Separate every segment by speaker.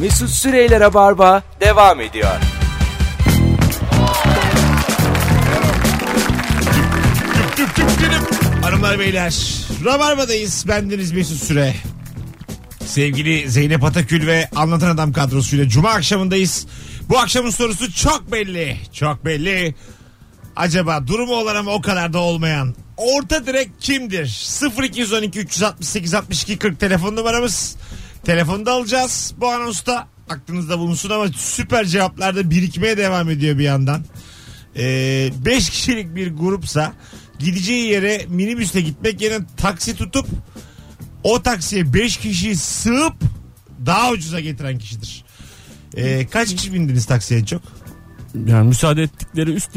Speaker 1: Mesut Süreyler'e barba devam ediyor.
Speaker 2: Tüp tüp tüp. Hanımlar beyler. Rabarba'dayız. Bendeniz Mesut Süre. Sevgili Zeynep Atakül ve Anlatan Adam kadrosuyla Cuma akşamındayız. Bu akşamın sorusu çok belli. Çok belli. Acaba durumu olan ama o kadar da olmayan orta direk kimdir? 0212 368 62 40 telefon numaramız. Telefonda alacağız bu anonsta. Aklınızda bulunsun ama süper cevaplar da birikmeye devam ediyor bir yandan. 5 Ee, kişilik bir grupsa gideceği yere minibüsle gitmek yerine taksi tutup o taksiye 5 kişi sığıp daha ucuza getiren kişidir. Ee, kaç kişi bindiniz taksiye en çok?
Speaker 3: Yani müsaade ettikleri üst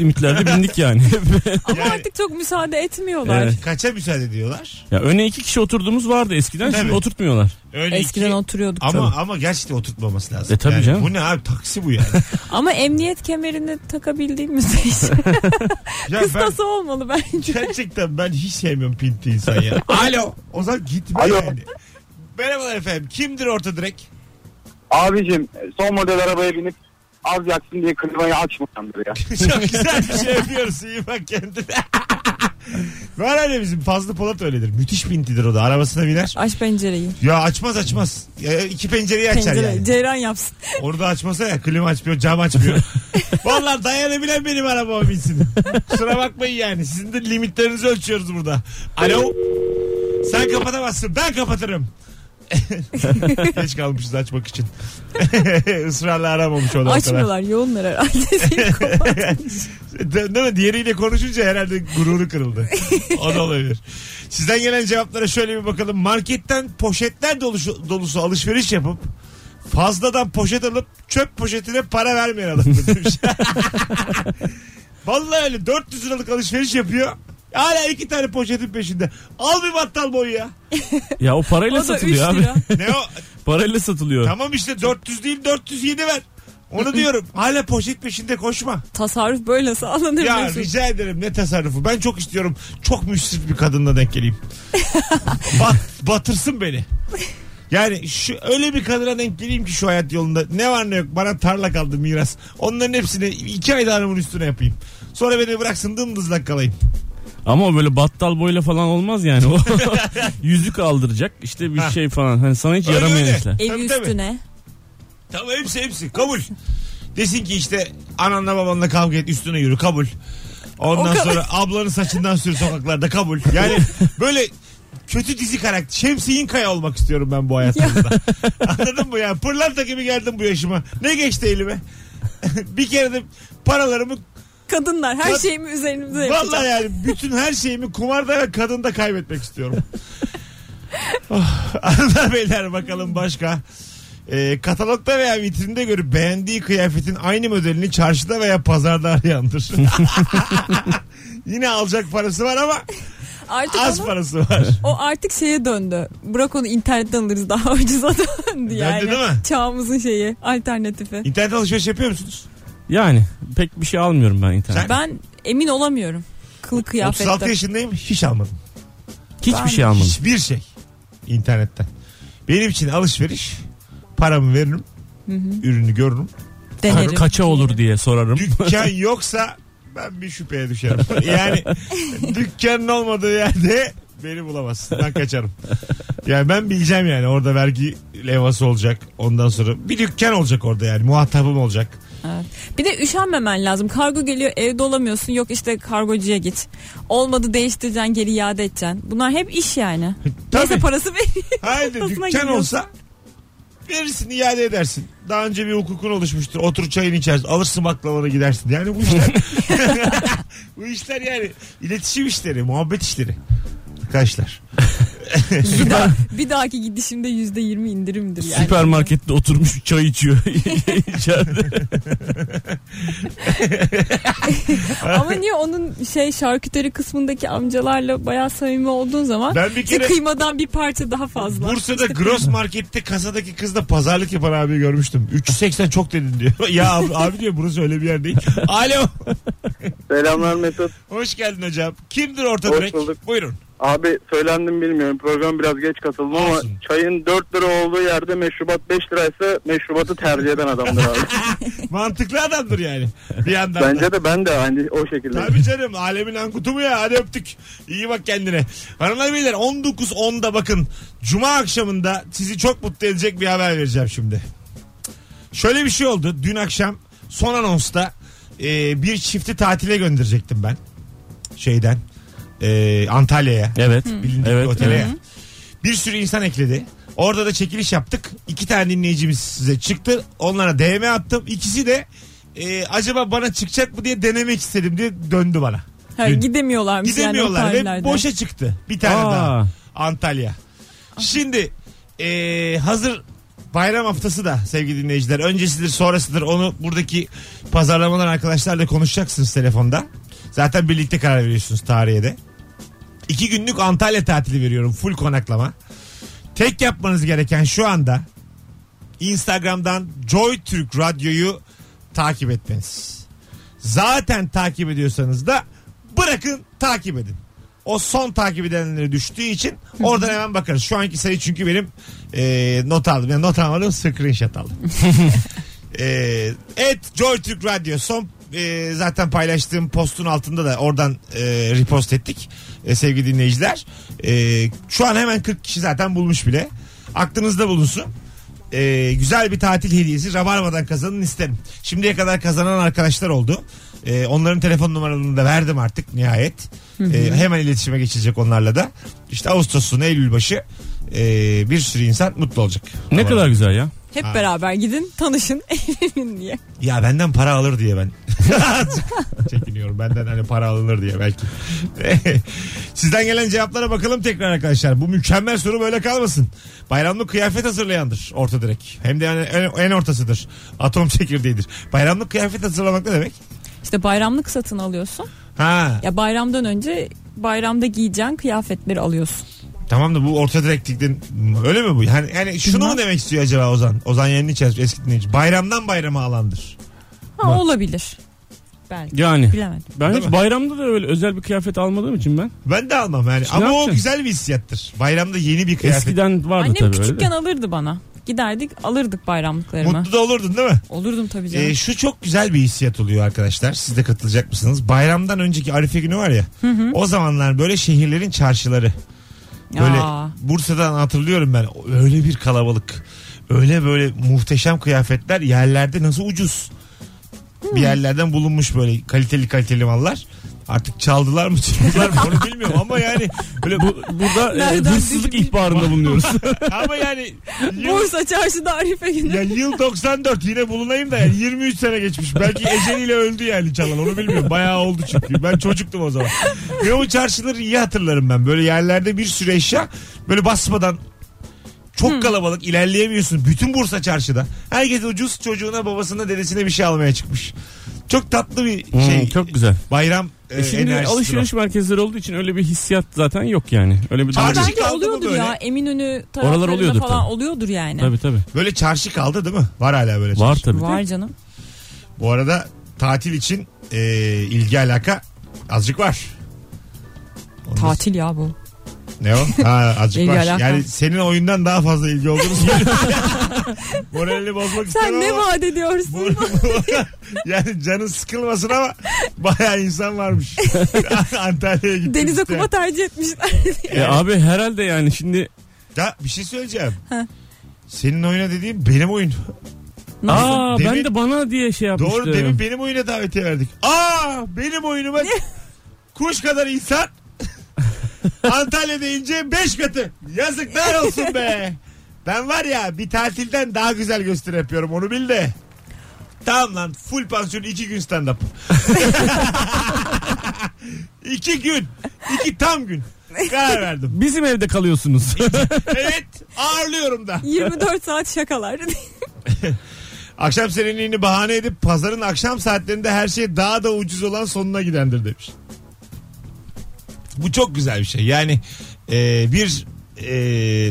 Speaker 3: limitlerde bindik yani.
Speaker 4: Ama
Speaker 2: Yani-
Speaker 4: artık çok müsaade etmiyorlar.
Speaker 3: Evet.
Speaker 2: Kaça müsaade ediyorlar?
Speaker 3: ya öne iki kişi oturduğumuz vardı eskiden
Speaker 2: Tabii.
Speaker 3: şimdi oturtmuyorlar.
Speaker 2: Öyle
Speaker 4: Eskiden
Speaker 2: iki-
Speaker 4: oturuyorduk
Speaker 2: ama
Speaker 4: ama,
Speaker 2: ama gerçekten oturtmaması lazım.
Speaker 3: E, tabii
Speaker 2: Yani
Speaker 3: canım.
Speaker 2: Bu ne abi taksi bu yani.
Speaker 4: ama emniyet kemerini takabildiğimiz için
Speaker 2: ya ben
Speaker 4: kıstası olmalı bence.
Speaker 2: gerçekten ben hiç sevmiyorum pinti insan ya. Alo. O zaman gitme
Speaker 5: Alo.
Speaker 2: yani. Merhabalar efendim. Kimdir orta direk?
Speaker 5: Abicim son model arabaya binip az yaksın diye klimayı açmayandır ya.
Speaker 2: Çok güzel bir şey yapıyoruz. İyi bak kendine. Var öyle bizim Fazlı Polat öyledir. Müthiş pintidir o da. Arabasına biner.
Speaker 4: Aç pencereyi.
Speaker 2: Ya açmaz açmaz. Ya iki pencereyi açar
Speaker 4: Pencere.
Speaker 2: yani.
Speaker 4: Ceyran yapsın.
Speaker 2: Orada açmasa ya klima açmıyor cam açmıyor. Vallahi dayanabilen benim arabama binsin. Kusura bakmayın yani. Sizin de limitlerinizi ölçüyoruz burada. Alo. Sen kapatamazsın ben kapatırım. Geç kalmışız açmak için. Israrla aramamış olan
Speaker 4: Açmıyorlar. Yoğunlar herhalde. Seni kapatın.
Speaker 2: Değil mi? Diğeriyle konuşunca herhalde gururu kırıldı. O da olabilir. Sizden gelen cevaplara şöyle bir bakalım. Marketten poşetler dolusu, dolusu alışveriş yapıp fazladan poşet alıp çöp poşetine para vermeyen adam demiş. Vallahi öyle 400 liralık alışveriş yapıyor. Hala iki tane poşetin peşinde. Al bir battal boyu ya.
Speaker 3: Ya o parayla
Speaker 4: o da 3
Speaker 3: satılıyor abi.
Speaker 4: lira.
Speaker 2: Ne o?
Speaker 3: Parayla satılıyor.
Speaker 2: tamam işte 400 değil 407 ver. Onu diyorum. Hala poşet peşinde koşma.
Speaker 4: Tasarruf böyle sağlanır.
Speaker 2: Ya
Speaker 4: Mesut.
Speaker 2: rica ederim ne tasarrufu. Ben çok istiyorum. Çok müsrif bir kadınla denk geleyim. Bat, batırsın beni. Yani şu öyle bir kadına denk geleyim ki şu hayat yolunda ne var ne yok bana tarla kaldı miras. Onların hepsini iki ay darımın üstüne yapayım. Sonra beni bıraksın dımdızlak kalayım.
Speaker 3: Ama o böyle battal boyla falan olmaz yani. O yüzük aldıracak işte bir
Speaker 2: Ha.
Speaker 3: şey falan. Hani sana hiç
Speaker 2: Öyle öyle.
Speaker 3: yaramayan işler.
Speaker 4: Ev
Speaker 2: Tabii, tabii.
Speaker 4: üstüne.
Speaker 2: Tamam hepsi hepsi kabul. Desin ki işte ananla babanla kavga et üstüne yürü kabul. Ondan
Speaker 4: O kadar.
Speaker 2: sonra ablanın saçından sür sokaklarda kabul. Yani böyle kötü dizi karakter. Şemsiyin Kaya olmak istiyorum ben bu hayatımda. Anladın mı ya? Pırlanta gibi geldim bu yaşıma. Ne geçti elime? bir kere de paralarımı
Speaker 4: Kadınlar her
Speaker 2: Kad-
Speaker 4: şeyimi üzerimize yapacak.
Speaker 2: vallahi yani bütün her şeyimi kumarda ve kadında kaybetmek istiyorum. oh, Hanımlar, beyler bakalım başka. Ee, katalogda veya vitrinde görüp beğendiği kıyafetin aynı modelini çarşıda veya pazarda arayandır. Yine alacak parası var ama
Speaker 4: Artık
Speaker 2: az
Speaker 4: onun-
Speaker 2: parası var.
Speaker 4: O artık şeye döndü. Bırak onu internetten alırız daha ucuza döndü yani.
Speaker 2: değil mi?
Speaker 4: Çağımızın şeyi, alternatifi.
Speaker 2: İnternet alışveriş yapıyor musunuz?
Speaker 3: Yani pek bir şey almıyorum ben internet.
Speaker 4: Ben emin olamıyorum. Kılık
Speaker 2: 36
Speaker 4: kıyafette.
Speaker 2: yaşındayım hiç almadım.
Speaker 3: Hiçbir şey almadım.
Speaker 2: Hiçbir şey internetten. Benim için alışveriş paramı veririm. Ürünü görürüm.
Speaker 4: Denerim.
Speaker 3: Hani Kaça olur diye sorarım.
Speaker 2: dükkan yoksa ben bir şüpheye düşerim. Yani dükkanın olmadığı yerde beni bulamazsın. Ben kaçarım. Yani ben bileceğim yani orada vergi levhası olacak. Ondan sonra bir dükkan olacak orada yani muhatabım olacak.
Speaker 4: Evet. Bir de üşenmemen lazım. Kargo geliyor evde olamıyorsun. Yok işte kargocuya git. Olmadı değiştireceksin geri iade edeceksin. Bunlar hep iş yani. Neyse
Speaker 2: Tabii.
Speaker 4: parası vereyim.
Speaker 2: Haydi
Speaker 4: parasına
Speaker 2: dükkan
Speaker 4: giriyorsun.
Speaker 2: olsa verirsin iade edersin. Daha önce bir hukukun oluşmuştur. Otur çayını içersin. Alırsın baklavanı gidersin. Yani bu işler bu işler yani iletişim işleri, muhabbet işleri. Arkadaşlar. E,
Speaker 4: bir, daha, bir dahaki gidişimde yüzde yirmi indirimdir yani.
Speaker 3: Süpermarkette oturmuş çay içiyor içeride.
Speaker 4: Ama niye onun şey şarküteri kısmındaki amcalarla bayağı samimi olduğun zaman
Speaker 2: Ben bir
Speaker 4: işte
Speaker 2: kere-
Speaker 4: kıymadan bir parça daha fazla.
Speaker 2: Bursa'da Gross Market'te kasadaki kızla pazarlık yapan abi görmüştüm. 380 çok dedin diyor. ya abi, abi diyor burası öyle bir yer değil. Alo.
Speaker 5: Selamlar Mesut.
Speaker 2: Hoş geldin hocam. Kimdir orta
Speaker 5: Hoş
Speaker 2: direk?
Speaker 5: bulduk.
Speaker 2: Buyurun.
Speaker 5: Abi söylendim bilmiyorum. Program biraz geç katıldım ama
Speaker 2: Olsun.
Speaker 5: çayın 4 lira olduğu yerde meşrubat 5 liraysa meşrubatı tercih eden adamdır abi.
Speaker 2: Mantıklı adamdır yani. Bir yandan da.
Speaker 5: Bence de ben de aynı o şekilde.
Speaker 2: Tabii canım alemin ankutu mu ya hadi öptük. İyi bak kendine. Hanımlar beyler 19.10'da bakın. Cuma akşamında sizi çok mutlu edecek bir haber vereceğim şimdi. Şöyle bir şey oldu. Dün akşam son anonsta e, bir çifti tatile gönderecektim ben. Şeyden e, Antalya'ya.
Speaker 3: Evet.
Speaker 2: Bilindik
Speaker 3: evet.
Speaker 2: bir otele.
Speaker 3: evet.
Speaker 2: Bir sürü insan ekledi. Orada da çekiliş yaptık. İki tane dinleyicimiz size çıktı. Onlara DM attım. İkisi de e, acaba bana çıkacak mı diye denemek istedim diye döndü bana.
Speaker 4: Ha,
Speaker 2: Dün.
Speaker 4: gidemiyorlarmış yani o
Speaker 2: Gidemiyorlar ve
Speaker 4: tarihlerde.
Speaker 2: boşa çıktı. Bir tane
Speaker 3: Aa.
Speaker 2: daha. Antalya.
Speaker 4: Ah.
Speaker 2: Şimdi e, hazır bayram haftası da sevgili dinleyiciler. Öncesidir sonrasıdır onu buradaki pazarlamalar arkadaşlarla konuşacaksınız telefonda. Zaten birlikte karar veriyorsunuz tarihe de. İki günlük Antalya tatili veriyorum. Full konaklama. Tek yapmanız gereken şu anda Instagram'dan Joy Türk Radyo'yu takip etmeniz. Zaten takip ediyorsanız da bırakın takip edin. O son takip edenlere düştüğü için oradan hemen bakarız. Şu anki sayı çünkü benim e, not aldım. Yani not almadım screenshot aldım. e, et Joy Türk Radyo son e, zaten paylaştığım postun altında da oradan e, repost ettik E, sevgili dinleyiciler. E, şu an hemen 40 kişi zaten bulmuş bile. Aklınızda bulunsun. E, güzel bir tatil hediyesi Rabarba'dan kazanın isterim. Şimdiye kadar kazanan arkadaşlar oldu. E, onların telefon numaralarını da verdim artık nihayet. E, hemen iletişime geçilecek onlarla da. İşte Ağustos'un Eylül başı e, bir sürü insan mutlu olacak.
Speaker 3: Ne
Speaker 2: Rabarba'dan.
Speaker 3: kadar güzel ya.
Speaker 4: Hep
Speaker 2: Ha.
Speaker 4: beraber gidin tanışın evlenin diye.
Speaker 2: Ya benden para alır diye ben. Azıcık Çekiniyorum benden hani para alınır diye belki. Sizden gelen cevaplara bakalım tekrar arkadaşlar. Bu mükemmel soru böyle kalmasın. Bayramlık kıyafet hazırlayandır orta direk. Hem de yani en, en ortasıdır. Atom çekirdeğidir. Bayramlık kıyafet hazırlamak ne demek?
Speaker 4: İşte bayramlık satın alıyorsun.
Speaker 2: Ha
Speaker 4: Ya bayramdan önce bayramda giyeceğin kıyafetleri alıyorsun.
Speaker 2: tamam da bu orta direklikten öyle mi bu? Yani, yani şunu mu
Speaker 4: Bilmem.
Speaker 2: demek istiyor acaba Ozan? Ozan Yeniçer eski dinleyici. Bayramdan bayrama alandır.
Speaker 4: Ha olabilir. Belki.
Speaker 3: Yani.
Speaker 4: Bilemedim.
Speaker 3: Ben
Speaker 2: Değil
Speaker 3: hiç
Speaker 2: mi?
Speaker 3: bayramda da öyle özel bir kıyafet almadığım için ben.
Speaker 2: Ben de almam yani.
Speaker 3: ne
Speaker 2: Ama o
Speaker 3: yapacaksın?
Speaker 2: güzel bir hissiyattır. Bayramda yeni bir kıyafet.
Speaker 3: Eskiden vardı
Speaker 4: Annem
Speaker 3: tabii öyle.
Speaker 4: küçükken
Speaker 3: de.
Speaker 4: alırdı bana. Giderdik alırdık bayramlıklarımı.
Speaker 2: Mutlu da olurdun değil mi?
Speaker 4: Olurdum
Speaker 3: E,
Speaker 4: tabii canım.
Speaker 2: Ee, şu çok güzel bir hissiyat oluyor arkadaşlar. Siz de katılacak mısınız? Bayramdan önceki Arife günü var ya. O zamanlar böyle şehirlerin çarşıları. Böyle
Speaker 4: Aa.
Speaker 2: Bursa'dan hatırlıyorum ben. Öyle bir kalabalık. Öyle böyle muhteşem kıyafetler yerlerde nasıl ucuz.
Speaker 4: Hmm.
Speaker 2: Bir yerlerden bulunmuş böyle kaliteli kaliteli mallar. Artık çaldılar mı çaldılar mı onu bilmiyorum ama yani böyle bu,
Speaker 3: Burada e,
Speaker 4: Nereden
Speaker 3: hırsızlık
Speaker 4: bileyim?
Speaker 3: ihbarında bulunuyoruz.
Speaker 2: ama yani yıl-
Speaker 4: Bursa çarşıda Arife günü.
Speaker 2: Ya yıl 94 yine bulunayım da yani 23 sene geçmiş. Belki eceliyle öldü yani çalan onu bilmiyorum. Bayağı oldu çünkü. Ben çocuktum o zaman. Ve o çarşıları iyi hatırlarım ben. Böyle yerlerde bir sürü eşya böyle basmadan çok
Speaker 3: Hmm.
Speaker 2: kalabalık ilerleyemiyorsun. Bütün Bursa çarşıda. Herkes ucuz çocuğuna babasına dedesine bir şey almaya çıkmış. Çok tatlı bir
Speaker 3: Hmm,
Speaker 2: şey.
Speaker 3: çok güzel.
Speaker 2: Bayram e,
Speaker 3: E şimdi
Speaker 2: enerjisi var.
Speaker 3: alışveriş merkezleri olduğu için öyle bir hissiyat zaten yok yani. Öyle bir
Speaker 2: Aa, ben-
Speaker 3: durum.
Speaker 4: Belki
Speaker 2: kaldı mı
Speaker 4: oluyordur
Speaker 2: böyle?
Speaker 4: ya Eminönü taraflarında
Speaker 3: oluyordur
Speaker 4: falan
Speaker 3: tabii.
Speaker 4: oluyordur yani.
Speaker 3: Tabii tabii.
Speaker 2: Böyle çarşı kaldı değil mi? Var hala böyle
Speaker 3: Var
Speaker 2: çarşı.
Speaker 3: tabii.
Speaker 4: Var
Speaker 3: de.
Speaker 4: canım.
Speaker 2: Bu arada tatil için e, ilgi alaka azıcık var. Onu da-
Speaker 4: Tatil ya bu.
Speaker 2: Ne o? Ha, azıcık
Speaker 4: İlgi
Speaker 2: var.
Speaker 4: alaka.
Speaker 2: Yani senin oyundan daha fazla ilgi olduğunu söylüyorum. Moralini bozmak istemem
Speaker 4: Sen ne
Speaker 2: ama-
Speaker 4: vaat ediyorsun?
Speaker 2: Bu- yani canın sıkılmasın ama bayağı insan varmış. Antalya'ya gittim.
Speaker 4: Denize
Speaker 2: işte.
Speaker 4: kuma tercih etmişler.
Speaker 3: E, abi herhalde yani şimdi
Speaker 2: Ya bir şey söyleyeceğim. senin oyuna dediğim benim oyun.
Speaker 4: Nasıl?
Speaker 3: aa
Speaker 2: Demin-
Speaker 3: ben de bana diye şey yapmıştım.
Speaker 2: Doğru demin benim oyuna davetiye verdik. Aa benim oyunuma kuş kadar insan Antalya deyince 5 katı. Yazıklar olsun be. Ben var ya bir tatilden daha güzel gösteri yapıyorum onu bil de. Tamam lan full pansiyon 2 gün stand up. 2 gün. 2 tam gün. Karar verdim.
Speaker 3: Bizim evde kalıyorsunuz.
Speaker 2: Evet ağırlıyorum da.
Speaker 4: 24 saat şakalar.
Speaker 2: Akşam serinliğini bahane edip pazarın akşam saatlerinde her şey daha da ucuz olan sonuna gidendir demiş. Bu çok güzel bir şey. Yani e, bir e,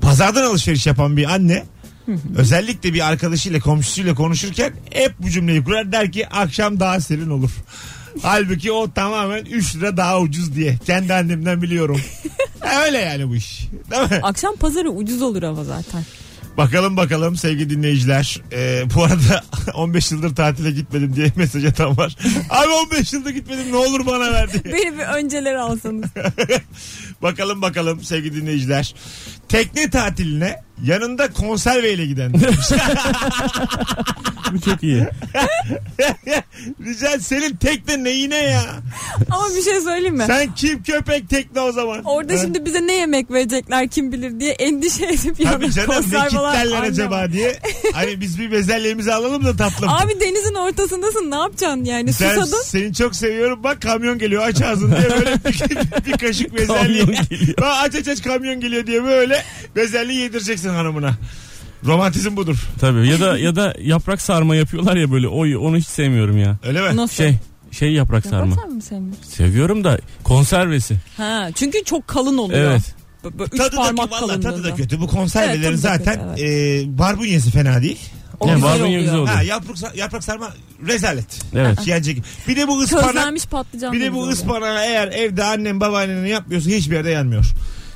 Speaker 2: pazardan alışveriş yapan bir anne özellikle bir arkadaşıyla komşusuyla konuşurken hep bu cümleyi kurar der ki akşam daha serin olur. Halbuki o tamamen 3 lira daha ucuz diye. Kendi annemden biliyorum. E, Öyle yani bu iş. Değil mi?
Speaker 4: Akşam pazarı ucuz olur ama zaten.
Speaker 2: Bakalım bakalım sevgili dinleyiciler. Ee, bu arada 15 yıldır tatile gitmedim diye mesaj atan var. Abi 15 yıldır gitmedim ne olur bana ver diye.
Speaker 4: Beni bir önceleri alsanız.
Speaker 2: Bakalım bakalım sevgili dinleyiciler. Tekne tatiline yanında konserveyle giden. demiş.
Speaker 3: Bu çok iyi.
Speaker 2: Rica senin tekne neyine ya?
Speaker 4: Ama bir şey söyleyeyim mi?
Speaker 2: Sen kim köpek tekne o zaman?
Speaker 4: Orada
Speaker 2: Ha?
Speaker 4: şimdi bize ne yemek verecekler kim bilir diye endişe edip
Speaker 2: Tabii canım ne
Speaker 4: konservalar
Speaker 2: kitlerler
Speaker 4: anne var.
Speaker 2: acaba diye. Hani biz bir bezelyemizi alalım da tatlım.
Speaker 4: Abi denizin ortasındasın ne yapacaksın yani
Speaker 2: Sen,
Speaker 4: susadın.
Speaker 2: seni çok seviyorum bak kamyon geliyor aç ağzını diye böyle bir, bir kaşık bezelye.
Speaker 3: Kamyon geliyor.
Speaker 2: Bak aç aç aç kamyon geliyor diye böyle bezelye yedireceksin hanımına. Romantizm budur.
Speaker 3: Tabii ya da ya da yaprak sarma yapıyorlar ya böyle. Oy onu hiç sevmiyorum ya.
Speaker 2: Öyle mi?
Speaker 4: Nasıl?
Speaker 3: Şey şey yaprak sarma.
Speaker 4: Yaparsan mı sevmiyorsun?
Speaker 3: Seviyorum da konservesi.
Speaker 4: Ha, çünkü çok kalın oluyor.
Speaker 3: Evet.
Speaker 4: B- b- üç
Speaker 2: tadı da,
Speaker 4: parmak
Speaker 2: kö- vallahi
Speaker 4: kalınlığında.
Speaker 2: tadı da kötü. Bu konservelerin
Speaker 4: Evet, tadı da
Speaker 2: zaten
Speaker 4: kötü,
Speaker 2: e, barbunyası fena değil.
Speaker 4: O
Speaker 3: Yani
Speaker 4: güzel
Speaker 3: barbunya
Speaker 4: oluyor.
Speaker 3: güzel oluyor.
Speaker 2: Ha, yaprak, sa- yaprak sarma rezalet.
Speaker 3: Evet.
Speaker 2: Yenecek. Bir de bu ıspanak
Speaker 4: Közlenmiş patlıcan.
Speaker 2: Bir
Speaker 4: da
Speaker 2: de bu
Speaker 4: güzel oluyor.
Speaker 2: ıspanağı eğer evde annem babaannenin yapmıyorsa hiçbir yerde yanmıyor.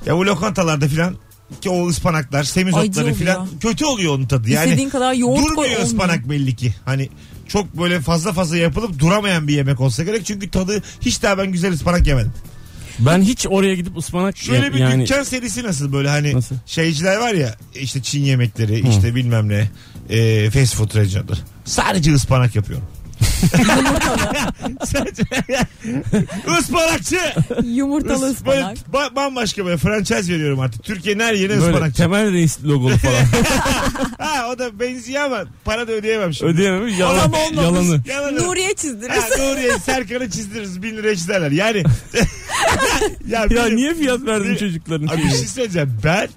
Speaker 2: Ya bu lokantalarda filan ki o ıspanaklar,
Speaker 4: Acı
Speaker 2: semizotları
Speaker 4: oluyor.
Speaker 2: filan kötü oluyor onun tadı. Yani
Speaker 4: İstediğin kadar yoğurt koy
Speaker 2: durmuyor
Speaker 4: olmuyor.
Speaker 2: ıspanak belli ki. Hani çok böyle fazla fazla yapılıp duramayan bir yemek olsa gerek. Çünkü tadı hiç daha ben güzel ıspanak yemedim.
Speaker 3: Ben hiç oraya gidip ıspanak
Speaker 2: Şöyle bir
Speaker 3: yani
Speaker 2: dükkan serisi nasıl böyle hani
Speaker 3: Nasıl?
Speaker 2: şeyciler var ya işte Çin yemekleri işte bilmem ne e, fast food restoranları. Sadece ıspanak yapıyorum. Sadece ıspanakçı.
Speaker 4: Yumurtalı
Speaker 2: Is- böyle
Speaker 4: ıspanak.
Speaker 2: ba- bambaşka böyle franchise veriyorum artık. Türkiye'nin her yerine
Speaker 3: böyle
Speaker 2: ıspanak.
Speaker 3: temel reis logolu falan.
Speaker 2: Ha o da benziyor ama para da ödeyemem şimdi.
Speaker 3: Ödeyemem yalan,
Speaker 2: Adam olmamış.
Speaker 3: yalanı.
Speaker 2: Yalanı.
Speaker 4: Nuriye
Speaker 2: Ha,
Speaker 4: çizdiririz.
Speaker 2: Nuriye Serkan'ı çizdiririz. Bin lira çizerler. Yani. ya,
Speaker 3: Ya
Speaker 2: benim-
Speaker 3: niye fiyat verdin
Speaker 2: Bir-
Speaker 3: çocukların?
Speaker 2: Abi bir şey söyleyeceğim. Ben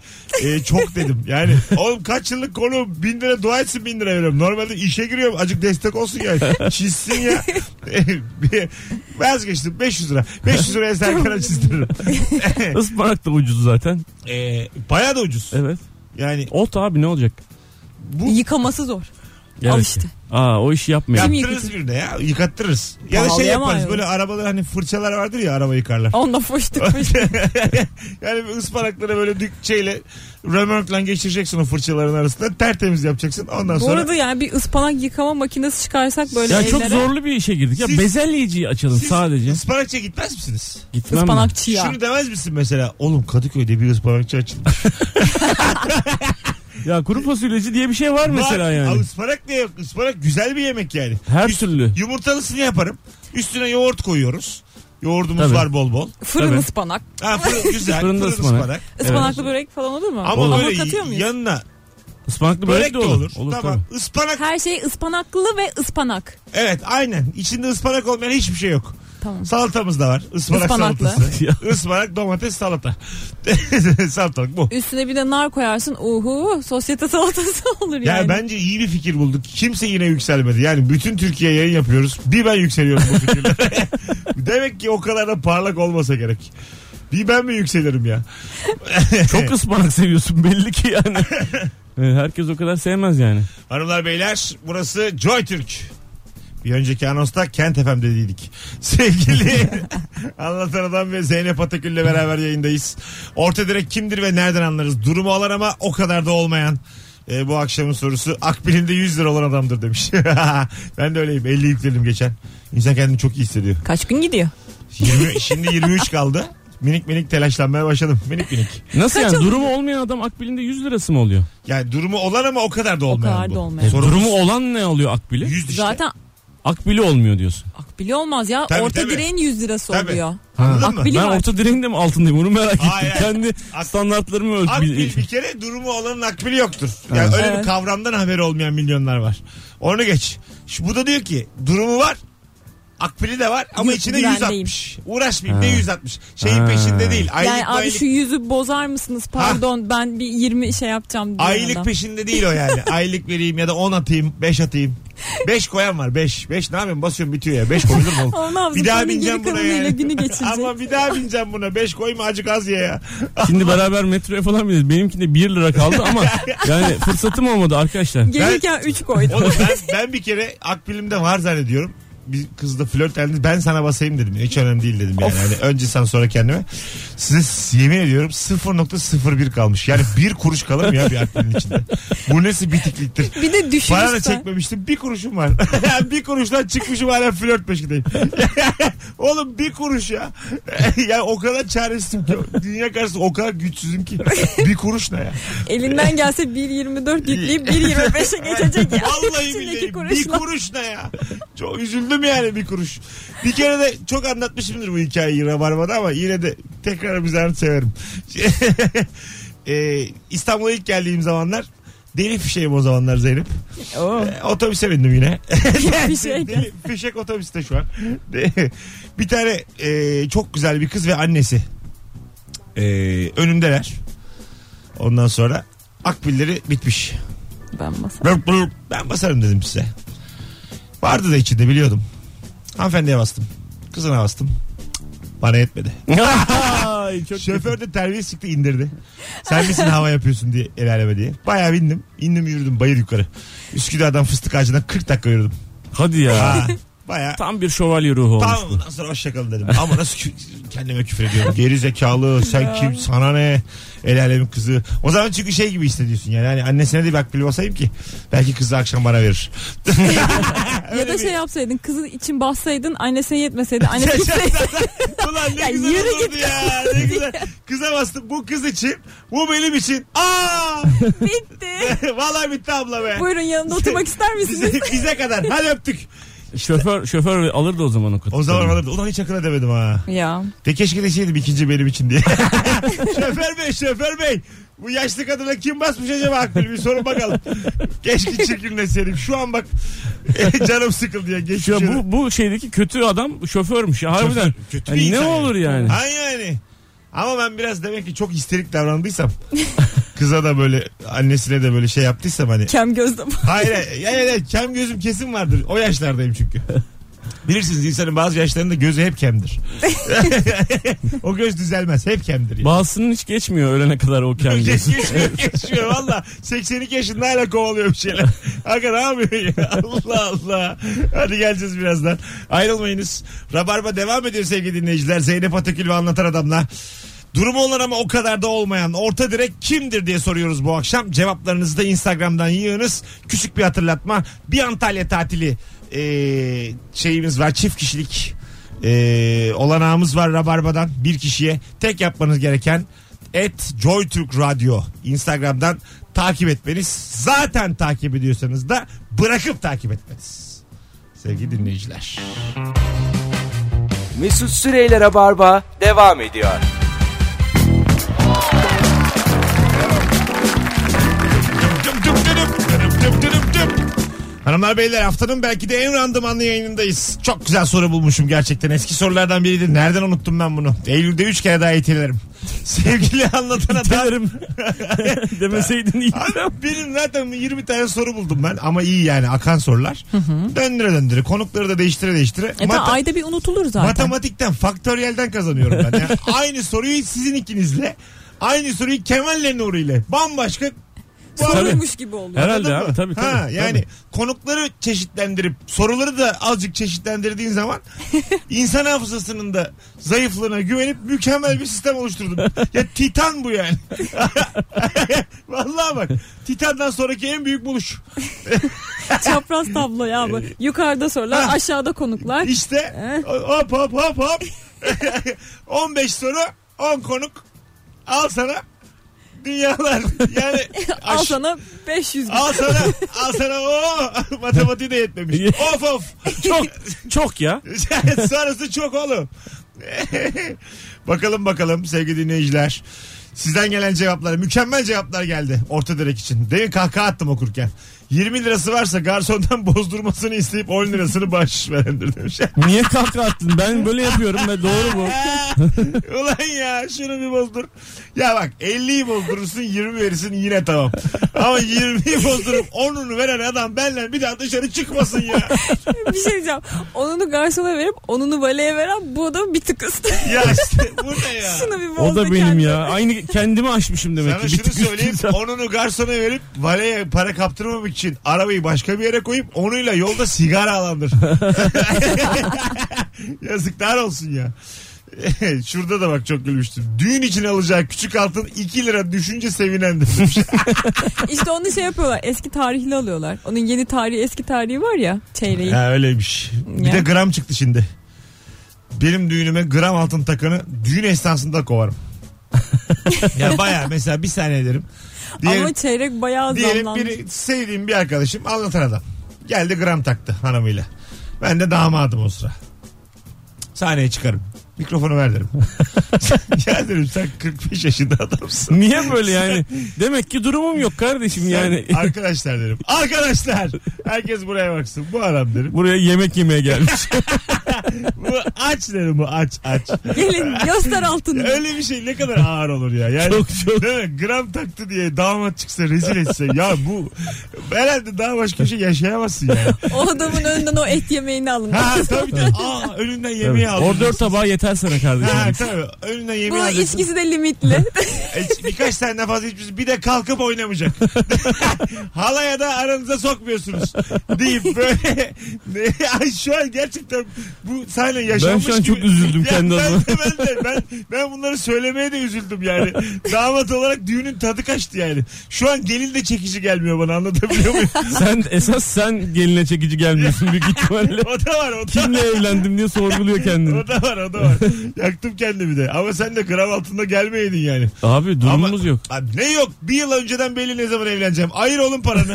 Speaker 2: e, çok dedim. Yani oğlum kaç yıllık konu bin lira dua etsin bin lira veriyorum. Normalde işe giriyorum. Acık destek olsun yani. Çizsin ya. E, Bir- Vazgeçtim. 500 lira. 500 liraya Serkan'a çizdiririm.
Speaker 3: Ispanak da ucuz zaten.
Speaker 2: E, bayağı da ucuz.
Speaker 3: Evet.
Speaker 2: Yani
Speaker 3: Ot abi ne olacak?
Speaker 2: bu
Speaker 4: Yıkaması zor.
Speaker 3: Gerek
Speaker 4: Al
Speaker 3: yok.
Speaker 4: işte.
Speaker 3: Aa o işi yapmayalım.
Speaker 4: Kim
Speaker 2: Yaptırırız bir de ya. Yıkattırırız. Ya da şey
Speaker 4: Pahalıya mı
Speaker 2: yaparız.
Speaker 4: ayrılır?
Speaker 2: Böyle arabalar hani fırçalar vardır ya araba yıkarlar.
Speaker 4: Onunla fıştık fıştık.
Speaker 2: yani bir ıspanakları böyle dük şeyle römorkla geçireceksin o fırçaların arasında. Tertemiz yapacaksın. Ondan
Speaker 4: Bu
Speaker 2: sonra
Speaker 4: arada yani bir ıspanak yıkama makinesi çıkarsak böyle
Speaker 3: Ya
Speaker 4: evlere.
Speaker 3: çok zorlu bir işe girdik. Ya
Speaker 2: Siz-
Speaker 3: bezelyeciyi açalım
Speaker 2: siz
Speaker 3: sadece.
Speaker 2: ıspanakçıya gitmez misiniz?
Speaker 3: Gitmem ben.
Speaker 4: Ispanakçı ya.
Speaker 2: Şunu demez misin mesela? Oğlum Kadıköy'de bir ıspanakçı açılmış.
Speaker 3: Ya kuru fasulyeci diye bir şey var mesela
Speaker 2: Var.
Speaker 3: yani.
Speaker 2: Al ıspanak ne yok? Ispanak güzel bir yemek yani.
Speaker 3: Her
Speaker 2: Üst-
Speaker 3: türlü.
Speaker 2: Yumurtalısını yaparım. Üstüne yoğurt koyuyoruz. Yoğurdumuz
Speaker 3: Tabii.
Speaker 2: var bol bol.
Speaker 4: Fırın
Speaker 3: Tabii.
Speaker 4: ıspanak.
Speaker 2: Ha, fırın, güzel.
Speaker 3: Fırında
Speaker 2: Fırında
Speaker 3: ıspanak.
Speaker 2: ıspanak.
Speaker 4: Ispanaklı börek falan olur mu?
Speaker 2: Ama
Speaker 4: Hamur
Speaker 2: böyle
Speaker 4: katıyor muyuz?
Speaker 2: yanına
Speaker 3: Ispanaklı
Speaker 2: börek de olur.
Speaker 3: Olur
Speaker 2: tamam. Ispanak
Speaker 4: Her şey ıspanaklı ve ıspanak.
Speaker 2: evet aynen. İçinde ıspanak olmayan hiçbir şey yok.
Speaker 4: Tamam.
Speaker 2: Salatamız da var. Ispanak
Speaker 4: Ispanaklı.
Speaker 2: salatası.
Speaker 3: Ya.
Speaker 2: Ispanak domates salata. Salatalık bu.
Speaker 4: Üstüne bir de nar koyarsın. Uhu sosyete salatası olur
Speaker 2: Ya
Speaker 4: yani.
Speaker 2: bence iyi bir fikir bulduk. Kimse yine yükselmedi. Yani bütün Türkiye yayın yapıyoruz. Bir ben yükseliyorum bu fikirle. Demek ki o kadar da parlak olmasa gerek. Bir ben mi yükselirim ya?
Speaker 3: tabii. Çok ıspanak seviyorsun belli ki yani. Evet, Herkes o kadar sevmez yani.
Speaker 2: Hanımlar beyler burası Joy Türk. Bir önceki anonsta Kent FM dediydik. Sevgili Anlatan Adam ve Zeynep Atakül'le beraber yayındayız. Orta direk kimdir ve nereden anlarız? Durumu olan ama o kadar da olmayan. E, bu akşamın sorusu Akbil'inde 100 lira olan adamdır demiş. ben de öyleyim 50 yükledim geçen. İnsan kendini çok iyi hissediyor.
Speaker 4: Kaç gün gidiyor?
Speaker 2: 20, şimdi 23 kaldı. Minik minik telaşlanmaya başladım. Minik minik.
Speaker 3: Nasıl
Speaker 4: Kaç
Speaker 3: yani
Speaker 4: oldu?
Speaker 3: durumu olmayan adam Akbil'inde 100 lirası mı oluyor?
Speaker 2: Yani durumu olan ama o kadar da olmayan
Speaker 4: kadar
Speaker 2: bu.
Speaker 4: da olmayan.
Speaker 2: Sorumuz
Speaker 3: Durumu olan ne alıyor Akbil'i?
Speaker 2: 100 işte.
Speaker 4: Zaten
Speaker 3: Akbil'i olmuyor diyorsun.
Speaker 4: akbili olmaz ya.
Speaker 2: Tabii,
Speaker 4: Orta
Speaker 2: tabii.
Speaker 4: direğin 100 lirası
Speaker 2: Tabii.
Speaker 4: oluyor.
Speaker 2: Anladın mı?
Speaker 4: Akbili
Speaker 3: ben
Speaker 4: var.
Speaker 3: orta direğin de mi altındayım onu merak ettim.
Speaker 2: Hayır, hayır.
Speaker 3: Kendi
Speaker 2: Ak-
Speaker 3: standartlarımı ölçmüş.
Speaker 2: Akbil bir kere durumu olanın akbili yoktur. Yani öyle bir
Speaker 4: Evet.
Speaker 2: kavramdan haberi olmayan milyonlar var. Onu geç. Şu, bu da diyor ki durumu var. Akbili de var ama
Speaker 4: Yok,
Speaker 2: içine
Speaker 4: güvendeyim.
Speaker 2: 160. Uğraşmayayım ne 160. Şeyin
Speaker 3: Ha.
Speaker 2: peşinde değil. Aylık,
Speaker 4: Yani abi
Speaker 2: aylık,
Speaker 4: şu yüzü bozar mısınız? Pardon ben bir 20 şey yapacağım. diyor
Speaker 2: aylık
Speaker 4: adam.
Speaker 2: peşinde değil o yani. aylık vereyim ya da 10 atayım 5 atayım. 5 koyan var 5. 5 ne yapayım basıyorum bitiyor ya. 5 koyulur mu? oğlum?
Speaker 4: Ama ne yapsın?
Speaker 2: bir daha
Speaker 4: Kendi
Speaker 2: bineceğim
Speaker 4: geri
Speaker 2: buna
Speaker 4: kalanıyla
Speaker 2: yani.
Speaker 4: günü geçirecek.
Speaker 2: Ama bir daha bineceğim buna. 5 koyma acık az ye ya.
Speaker 3: Şimdi beraber metroya falan bineceğiz. Benimkinde 1 lira kaldı ama yani fırsatım olmadı arkadaşlar.
Speaker 4: Gelirken 3 koydum.
Speaker 2: Oğlum ben, ben bir kere akbilimde var zannediyorum. bir kızla flört halinde ben sana basayım dedim. Hiç önemli değil dedim yani. Hani önce sen sonra kendime. Size yemin ediyorum 0.01 kalmış. Yani bir kuruş kalır mı ya bir aklının içinde? Bu nasıl bitikliktir?
Speaker 4: Bir de
Speaker 2: Para da
Speaker 4: düşünürsen.
Speaker 2: çekmemiştim. Bir kuruşum var. bir kuruştan çıkmışım hala flört peşindeyim. Oğlum bir kuruş ya. ya o kadar çaresizim ki. Dünya karşısında o kadar güçsüzüm ki. bir kuruş ne ya?
Speaker 4: Elinden gelse 1.24 yükleyip 1.25'e geçecek ya.
Speaker 2: Vallahi
Speaker 4: İçindeki
Speaker 2: billahi bir
Speaker 4: kuruşla.
Speaker 2: kuruş ne ya? Çok üzüldüm yani bir kuruş. Bir kere de çok anlatmışımdır bu hikayeyi Rabarba'da ama yine de tekrar bir severim. Ee, İstanbul'a ilk geldiğim zamanlar deli fişeğim o zamanlar Zeynep.
Speaker 4: Oo.
Speaker 2: Ee, otobüse bindim yine.
Speaker 4: Oh. Fişek.
Speaker 2: Deli fişek otobüste şu an. De- bir tane e, çok güzel bir kız ve annesi. E, önümdeler. Ondan sonra akbilleri bitmiş.
Speaker 4: Ben masa.
Speaker 2: Bırp bırp. Ben basarım dedim size. Vardı da içinde biliyordum. Hanımefendiye bastım. Kızına bastım. Cık, Bana yetmedi.
Speaker 3: Ay, çok
Speaker 2: Şoför de terbiye çıktı indirdi. Sen misin hava yapıyorsun diye el aleme diye. Bayağı bindim. İndim yürüdüm bayır yukarı. Üsküdar'dan fıstık ağacına 40 dakika yürüdüm.
Speaker 3: Hadi ya.
Speaker 2: Ha, bayağı.
Speaker 3: Tam bir şövalye ruhu olmuş.
Speaker 2: Tamam ondan sonra hoşçakalın dedim. Ama nasıl kü- kendime küfür ediyorum. Geri zekalı sen kim sana ne el alemin kızı. O zaman çünkü şey gibi hissediyorsun yani. Hani annesine de bir akbil basayım ki. Belki kızı akşam bana verir.
Speaker 4: Ya da şey yapsaydın kızın için bassaydın annesine yetmeseydi annesi gitseydi.
Speaker 2: Ulan ne
Speaker 4: Ya
Speaker 2: güzel
Speaker 4: yürü
Speaker 2: olurdu
Speaker 4: git
Speaker 2: ya. Ne güzel. Kıza bastım. Bu kız için. Bu benim için. Aa!
Speaker 4: Bitti.
Speaker 2: Vallahi bitti abla be.
Speaker 4: Buyurun yanında oturmak ister misiniz?
Speaker 2: Bize, bize kadar. Hadi öptük.
Speaker 3: Şoför şoför alırdı o zaman o kutu.
Speaker 2: O zaman alırdı. Ulan hiç akıl edemedim ha.
Speaker 4: ya.
Speaker 2: De keşke deseydim ikinci benim için diye. şoför bey şoför bey. Bu yaşlı kadına kim basmış acaba akbil bir sorun bakalım. Keşke çirkinleşseydim. Şu an bak canım sıkıldı ya. Geçmiş
Speaker 3: Ya
Speaker 2: olsun.
Speaker 3: bu bu şeydeki kötü adam şoförmüş ya harbiden.
Speaker 2: Kötü bir
Speaker 3: Yani Hani ne
Speaker 2: insan
Speaker 3: olur yani?
Speaker 2: Ha yani. Ama ben biraz demek ki çok isterik davrandıysam kıza da böyle annesine de böyle şey yaptıysam hani.
Speaker 4: Kem E gözlem.
Speaker 2: Hayır hayır, yani, yani kem gözüm kesin vardır. O yaşlardayım çünkü. Bilirsiniz insanın bazı yaşlarında gözü hep kemdir. o göz düzelmez. Hep kemdir. Yani.
Speaker 3: Bazısının hiç geçmiyor ölene kadar o kendisi.
Speaker 2: Geçiyor, geçiyor valla. 82 yaşında hala kovalıyor bir şeyler. Aga ne yapıyor ya? Allah Allah. Hadi geleceğiz birazdan. Ayrılmayınız. Rabarba devam ediyor sevgili dinleyiciler. Zeynep Atakül ve Anlatan Adam'la. Durumu olan ama o kadar da olmayan orta direk kimdir diye soruyoruz bu akşam. Cevaplarınızı da Instagram'dan yığınız. Küçük bir hatırlatma. Bir Antalya tatili eee, şeyimiz var. Çift kişilik eee, Ee, olanağımız var Rabarba'dan. Bir kişiye tek yapmanız gereken et Joytürk Radyo Instagram'dan takip etmeniz. Zaten takip ediyorsanız da bırakıp takip etmeniz. Sevgili dinleyiciler.
Speaker 1: Mesut Süreyler'e barba devam ediyor.
Speaker 2: Dıp dıp dıp dıp dıp dıp dıp. Hanımlar beyler haftanın belki de en randımanlı yayınındayız. Çok güzel soru bulmuşum gerçekten. Eski sorulardan biriydi. Nereden unuttum ben bunu? Eylül'de 3 kere daha itelerim. Sevgili anlatan adam.
Speaker 3: Derim. Demeseydin iyi.
Speaker 2: Abi benim zaten 20 tane soru buldum ben ama iyi yani akan sorular. Döndüre döndüre konukları da değiştire değiştire.
Speaker 4: E
Speaker 2: Mata-
Speaker 4: tamam, ayda bir unutulur zaten.
Speaker 2: Matematikten, faktöriyelden kazanıyorum ben. Yani aynı soruyu sizin ikinizle, aynı soruyu Kemal'le Nuri ile bambaşka
Speaker 4: Sorulmuş gibi oluyor.
Speaker 3: Herhalde
Speaker 2: Anladın
Speaker 3: abi
Speaker 2: mı?
Speaker 3: tabii tabii.
Speaker 2: Ha,
Speaker 3: tabii.
Speaker 2: yani konukları çeşitlendirip soruları da azıcık çeşitlendirdiğin zaman insan hafızasının da zayıflığına güvenip mükemmel bir sistem oluşturdum. ya titan bu yani. Vallahi bak Titan'dan sonraki en büyük buluş.
Speaker 4: Çapraz tablo ya bu. Yukarıda sorular,
Speaker 2: Ha.
Speaker 4: aşağıda konuklar.
Speaker 2: İşte hop hop hop hop. 15 soru 10 konuk. Al sana dünyalar. Yani
Speaker 4: Al
Speaker 2: aş-
Speaker 4: sana 500 bin.
Speaker 2: Al sana, al sana o matematiği de yetmemiş. of of.
Speaker 3: çok çok ya.
Speaker 2: Sarısı çok oğlum. bakalım bakalım sevgili dinleyiciler. Sizden gelen cevaplar mükemmel cevaplar geldi orta direk için. Değil mi? kahkaha attım okurken. 20 lirası varsa garsondan bozdurmasını isteyip 10 lirasını bahşiş verendir demiş.
Speaker 3: Niye kahkaha attın? Ben böyle yapıyorum ve doğru bu.
Speaker 2: Ulan ya şunu bir bozdur. Ya bak 50'yi bozdurursun 20 verirsin yine tamam. Ama 20'yi bozdurup 10'unu veren adam benle bir daha dışarı çıkmasın ya.
Speaker 4: bir şey diyeceğim. Onunu garsona verip onunu valeye veren bu adam bir tık üstü.
Speaker 2: Ya işte bu ne ya?
Speaker 4: Şunu bir bozdu
Speaker 3: O da benim
Speaker 4: kendine.
Speaker 3: ya. Aynı kendimi aşmışım demek
Speaker 2: Sana
Speaker 3: ki. Bir
Speaker 2: şunu
Speaker 3: tık üstün
Speaker 2: söyleyeyim.
Speaker 3: sen.
Speaker 2: Onunu garsona verip valeye para kaptırmamak için arabayı başka bir yere koyup onuyla yolda sigara alandır. Yazıklar olsun ya. Şurada da bak çok gülmüştüm. Düğün için alacağı küçük altın 2 lira düşünce sevinendir. demiş.
Speaker 4: İşte onu şey yapıyorlar. Eski tarihli alıyorlar. Onun yeni tarihi eski tarihi var ya çeyreği.
Speaker 2: ha öyleymiş. Bir
Speaker 4: Ya.
Speaker 2: de gram çıktı şimdi. Benim düğünüme gram altın takanı düğün esnasında kovarım. ya baya mesela bir saniye derim. Diyelim-
Speaker 4: Ama çeyrek bayağı
Speaker 2: Diyelim
Speaker 4: zamlanmış.
Speaker 2: bir sevdiğim bir arkadaşım anlatan adam. Geldi gram taktı hanımıyla. Ben de damadım o sıra. Sahneye çıkarım. Mikrofonu ver derim. ya derim sen 45 yaşında adamsın.
Speaker 3: Niye böyle yani? Demek ki durumum yok kardeşim yani.
Speaker 2: Sen- arkadaşlar derim. Arkadaşlar. Herkes buraya baksın. Bu adam derim.
Speaker 3: Buraya yemek yemeye gelmiş.
Speaker 2: Bu aç derim bu aç aç.
Speaker 4: Gelin göster altını.
Speaker 2: Öyle bir şey ne kadar ağır olur ya. Yani,
Speaker 3: Çok, çok.
Speaker 2: Değil mi? Gram taktı diye damat çıksa rezil etse. Ya bu herhalde daha başka bir şey yaşayamazsın yani.
Speaker 4: O adamın önünden o et yemeğini alın.
Speaker 2: Ha tabii tabii. Aa önünden yemeği aldım.
Speaker 3: Orada dört tabağı yeter sana
Speaker 2: Ha
Speaker 3: kardeşim.
Speaker 2: tabii. Önünden yemeği
Speaker 4: Bunun
Speaker 2: aldım.
Speaker 4: içkisi de limitli.
Speaker 2: E, Birkaç tane de fazla içmiş. Bir de kalkıp oynamayacak. Halaya da aranıza sokmuyorsunuz. Deyip böyle. Ne, ay şu an gerçekten bu sahne yaşanmış
Speaker 3: Ben şu an çok
Speaker 2: gibi-
Speaker 3: üzüldüm
Speaker 2: Ya
Speaker 3: kendi
Speaker 2: ben
Speaker 3: adıma.
Speaker 2: de, ben de. Ben, ben bunları söylemeye de üzüldüm yani. Damat olarak düğünün tadı kaçtı yani. Şu an gelin de çekici gelmiyor bana anlatabiliyor muyum?
Speaker 3: sen esas sen geline çekici gelmiyorsun büyük ihtimalle.
Speaker 2: o da var o da
Speaker 3: Kimle evlendim diye sorguluyor kendini.
Speaker 2: O da var o da var. Yaktım kendimi de. Ama sen de gram altında gelmeydin yani.
Speaker 3: Abi durumumuz
Speaker 2: Ama-
Speaker 3: yok.
Speaker 2: Abi ne yok? Bir yıl önceden belli ne zaman evleneceğim. Ayır oğlum paranı.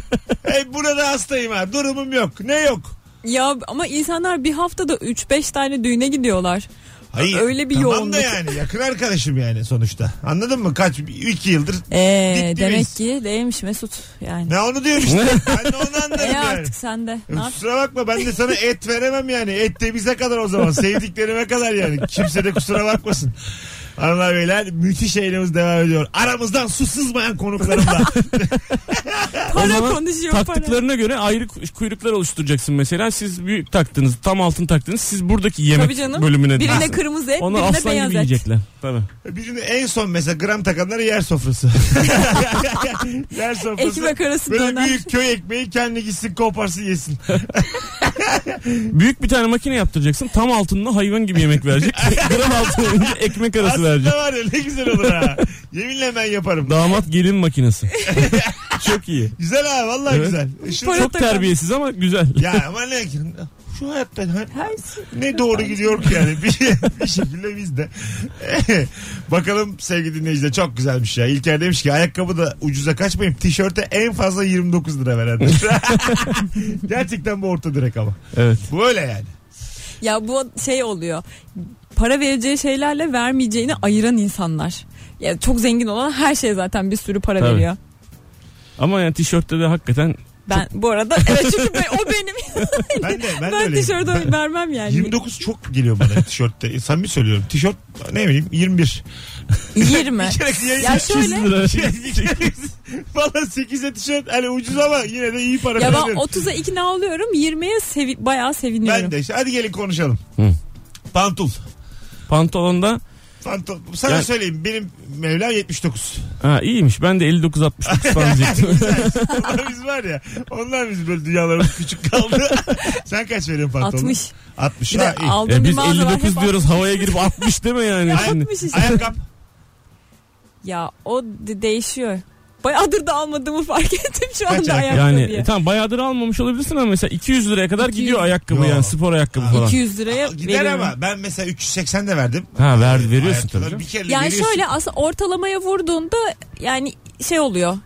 Speaker 2: hey burada hastayım ha. Durumum yok. Ne yok?
Speaker 4: ya ama insanlar bir haftada 3-5 tane düğüne gidiyorlar.
Speaker 2: Hayır.
Speaker 4: Öyle bir
Speaker 2: tamam
Speaker 4: yoğunluk.
Speaker 2: da yani yakın arkadaşım yani sonuçta. Anladın mı? Kaç? iki yıldır.
Speaker 4: Ee,
Speaker 2: Gittiniz.
Speaker 4: demek ki değilmiş Mesut yani.
Speaker 2: Ne onu diyorum işte. ben de onu
Speaker 4: E
Speaker 2: anlarım yani.
Speaker 4: artık sende. Ne yap-
Speaker 2: Kusura bakma ben de sana et veremem yani. Et de bize kadar o zaman. Sevdiklerime kadar yani. Kimse de kusura bakmasın. Hanımlar beyler müthiş eğlenimiz devam ediyor. Aramızdan su sızmayan konuklarımla.
Speaker 3: O
Speaker 4: Para
Speaker 3: zaman
Speaker 4: konuşuyor para.
Speaker 3: taktıklarına göre ayrı ku- kuyruklar oluşturacaksın mesela. Siz büyük taktınız, tam altın taktınız. Siz buradaki
Speaker 4: Tabii
Speaker 3: yemek
Speaker 4: canım.
Speaker 3: bölümüne
Speaker 4: Birine
Speaker 3: Aslında-
Speaker 4: kırmızı et,
Speaker 3: Onu
Speaker 4: birine
Speaker 3: aslan gibi
Speaker 4: beyaz et.
Speaker 3: yiyecekler. Tabii.
Speaker 2: Birini en son mesela gram takanları yer sofrası. yer sofrası.
Speaker 4: Ekmek arası
Speaker 2: Böyle
Speaker 4: döner.
Speaker 2: büyük köy ekmeği kendi gitsin koparsın yesin.
Speaker 3: Büyük bir tane makine yaptıracaksın. Tam altında hayvan gibi yemek verecek. Gram altın olunca ekmek arası verecek.
Speaker 2: Aslında var ya ne güzel olur ha. Yeminle ben yaparım.
Speaker 3: Damat gelin makinesi. Çok iyi.
Speaker 2: Güzel ha vallahi
Speaker 3: Evet.
Speaker 2: güzel. E Şu,
Speaker 4: Para-
Speaker 3: Çok terbiyesiz ama güzel.
Speaker 2: ya ama ne şu hayatta ne-
Speaker 4: şey-
Speaker 2: ne doğru gidiyor ki yani bir, şey- bir şekilde biz de. Bakalım sevgili dinleyiciler çok güzelmiş ya. İlker demiş ki ayakkabı da ucuza kaçmayayım. Tişörte en fazla 29 lira veren. Gerçekten bu orta direk ama.
Speaker 3: Evet.
Speaker 2: Bu öyle yani.
Speaker 4: Ya bu şey oluyor. Para vereceği şeylerle vermeyeceğini ayıran insanlar. Ya çok zengin olan her şeye zaten bir sürü para
Speaker 3: Tabii.
Speaker 4: veriyor.
Speaker 3: Ama yani tişörtte de hakikaten
Speaker 4: Ben bu arada evet çünkü ben- o benim.
Speaker 2: Ben de ben,
Speaker 4: ben
Speaker 2: de öyleyim.
Speaker 4: tişörtü
Speaker 2: Ben-
Speaker 4: vermem yani.
Speaker 2: 29 çok geliyor bana tişörtte. E, Samimi söylüyorum. Tişört ne bileyim 21.
Speaker 4: 20.
Speaker 2: Bir kere yayın-
Speaker 4: ya şöyle
Speaker 3: 300 lira.
Speaker 2: Bir kere- Valla 8'e tişört hani ucuz ama yine de iyi para
Speaker 4: ya ben
Speaker 2: veriyorum.
Speaker 4: 30'a ikna oluyorum 20'ye sevi bayağı seviniyorum.
Speaker 2: Ben de işte hadi gelin konuşalım.
Speaker 3: Hı.
Speaker 2: Pantul.
Speaker 3: pantolonda
Speaker 2: Pantul. Sana
Speaker 3: Yani-
Speaker 2: söyleyeyim benim Mevlam 79.
Speaker 3: ha iyiymiş. Ben de 59 69 falan diyecektim.
Speaker 2: Onlar biz var ya. Onlar biz böyle dünyalarımız küçük kaldı. Sen kaç veriyorsun pantolonu?
Speaker 4: 60.
Speaker 2: 60.
Speaker 4: Bir de
Speaker 2: Ha, iyi.
Speaker 4: aldığım
Speaker 3: E
Speaker 4: bir
Speaker 3: biz
Speaker 4: mağaza var,
Speaker 3: 59
Speaker 4: hep
Speaker 3: diyoruz havaya girip 60 deme yani şimdi.
Speaker 4: 60 işte.
Speaker 2: Ayakkabı.
Speaker 4: Ya o de- değişiyor. Bayağıdır da almadığımı fark ettim şu anda
Speaker 2: ayakkabı?
Speaker 4: ayakkabıya.
Speaker 3: Yani e, tamam bayağıdır almamış olabilirsin ama mesela 200 liraya kadar
Speaker 4: 200.
Speaker 3: gidiyor ayakkabı
Speaker 2: Yo.
Speaker 3: yani spor ayakkabı
Speaker 2: Ha.
Speaker 3: falan.
Speaker 4: 200 liraya
Speaker 2: Gider
Speaker 4: veriyorum.
Speaker 2: ama ben mesela 380 de verdim.
Speaker 3: Ha ver, veriyorsun
Speaker 2: Hayatımda
Speaker 3: tabii. canım.
Speaker 2: Bir kere
Speaker 4: Yani
Speaker 2: veriyorsun.
Speaker 4: şöyle aslında ortalamaya vurduğunda yani şey oluyor.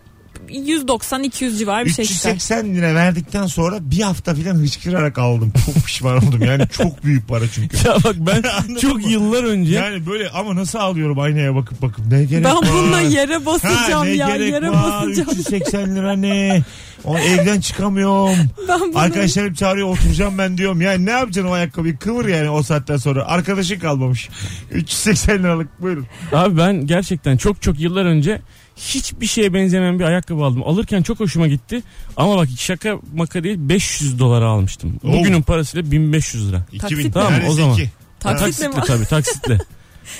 Speaker 4: 190-200 civarı bir şey çıkar.
Speaker 2: 380 lira verdikten sonra bir hafta falan hıçkırarak aldım. Çok pişman oldum. Yani çok büyük para çünkü.
Speaker 3: Ya bak ben
Speaker 2: Anladın
Speaker 3: çok
Speaker 2: mı?
Speaker 3: yıllar önce
Speaker 2: Yani böyle ama nasıl ağlıyorum aynaya bakıp bakıp. Ne gerek
Speaker 4: Ben
Speaker 2: var?
Speaker 4: bununla yere
Speaker 2: Ha,
Speaker 4: basacağım
Speaker 2: ne
Speaker 4: ya
Speaker 2: gerek
Speaker 4: yere
Speaker 2: var?
Speaker 4: basacağım.
Speaker 2: 380 lira ne? O evden çıkamıyorum.
Speaker 4: Ben bunu
Speaker 2: Arkadaşlarım çağırıyor oturacağım ben diyorum. Yani ne yapacaksın o ayakkabıyı? Kıvır yani o saatten sonra. Arkadaşın kalmamış. 380 liralık buyurun.
Speaker 3: Abi ben gerçekten çok çok yıllar önce hiçbir şeye benzemeyen bir ayakkabı aldım. Alırken çok hoşuma gitti. Ama bak şaka maka değil 500 dolara almıştım.
Speaker 2: Oo.
Speaker 3: Bugünün parasıyla 1500 lira.
Speaker 4: Taksit
Speaker 2: 2000.
Speaker 4: mi? Tamam,
Speaker 2: Neredeyse
Speaker 3: o zaman.
Speaker 2: iki.
Speaker 4: taksitle mi?
Speaker 3: taksitle tabii taksitle.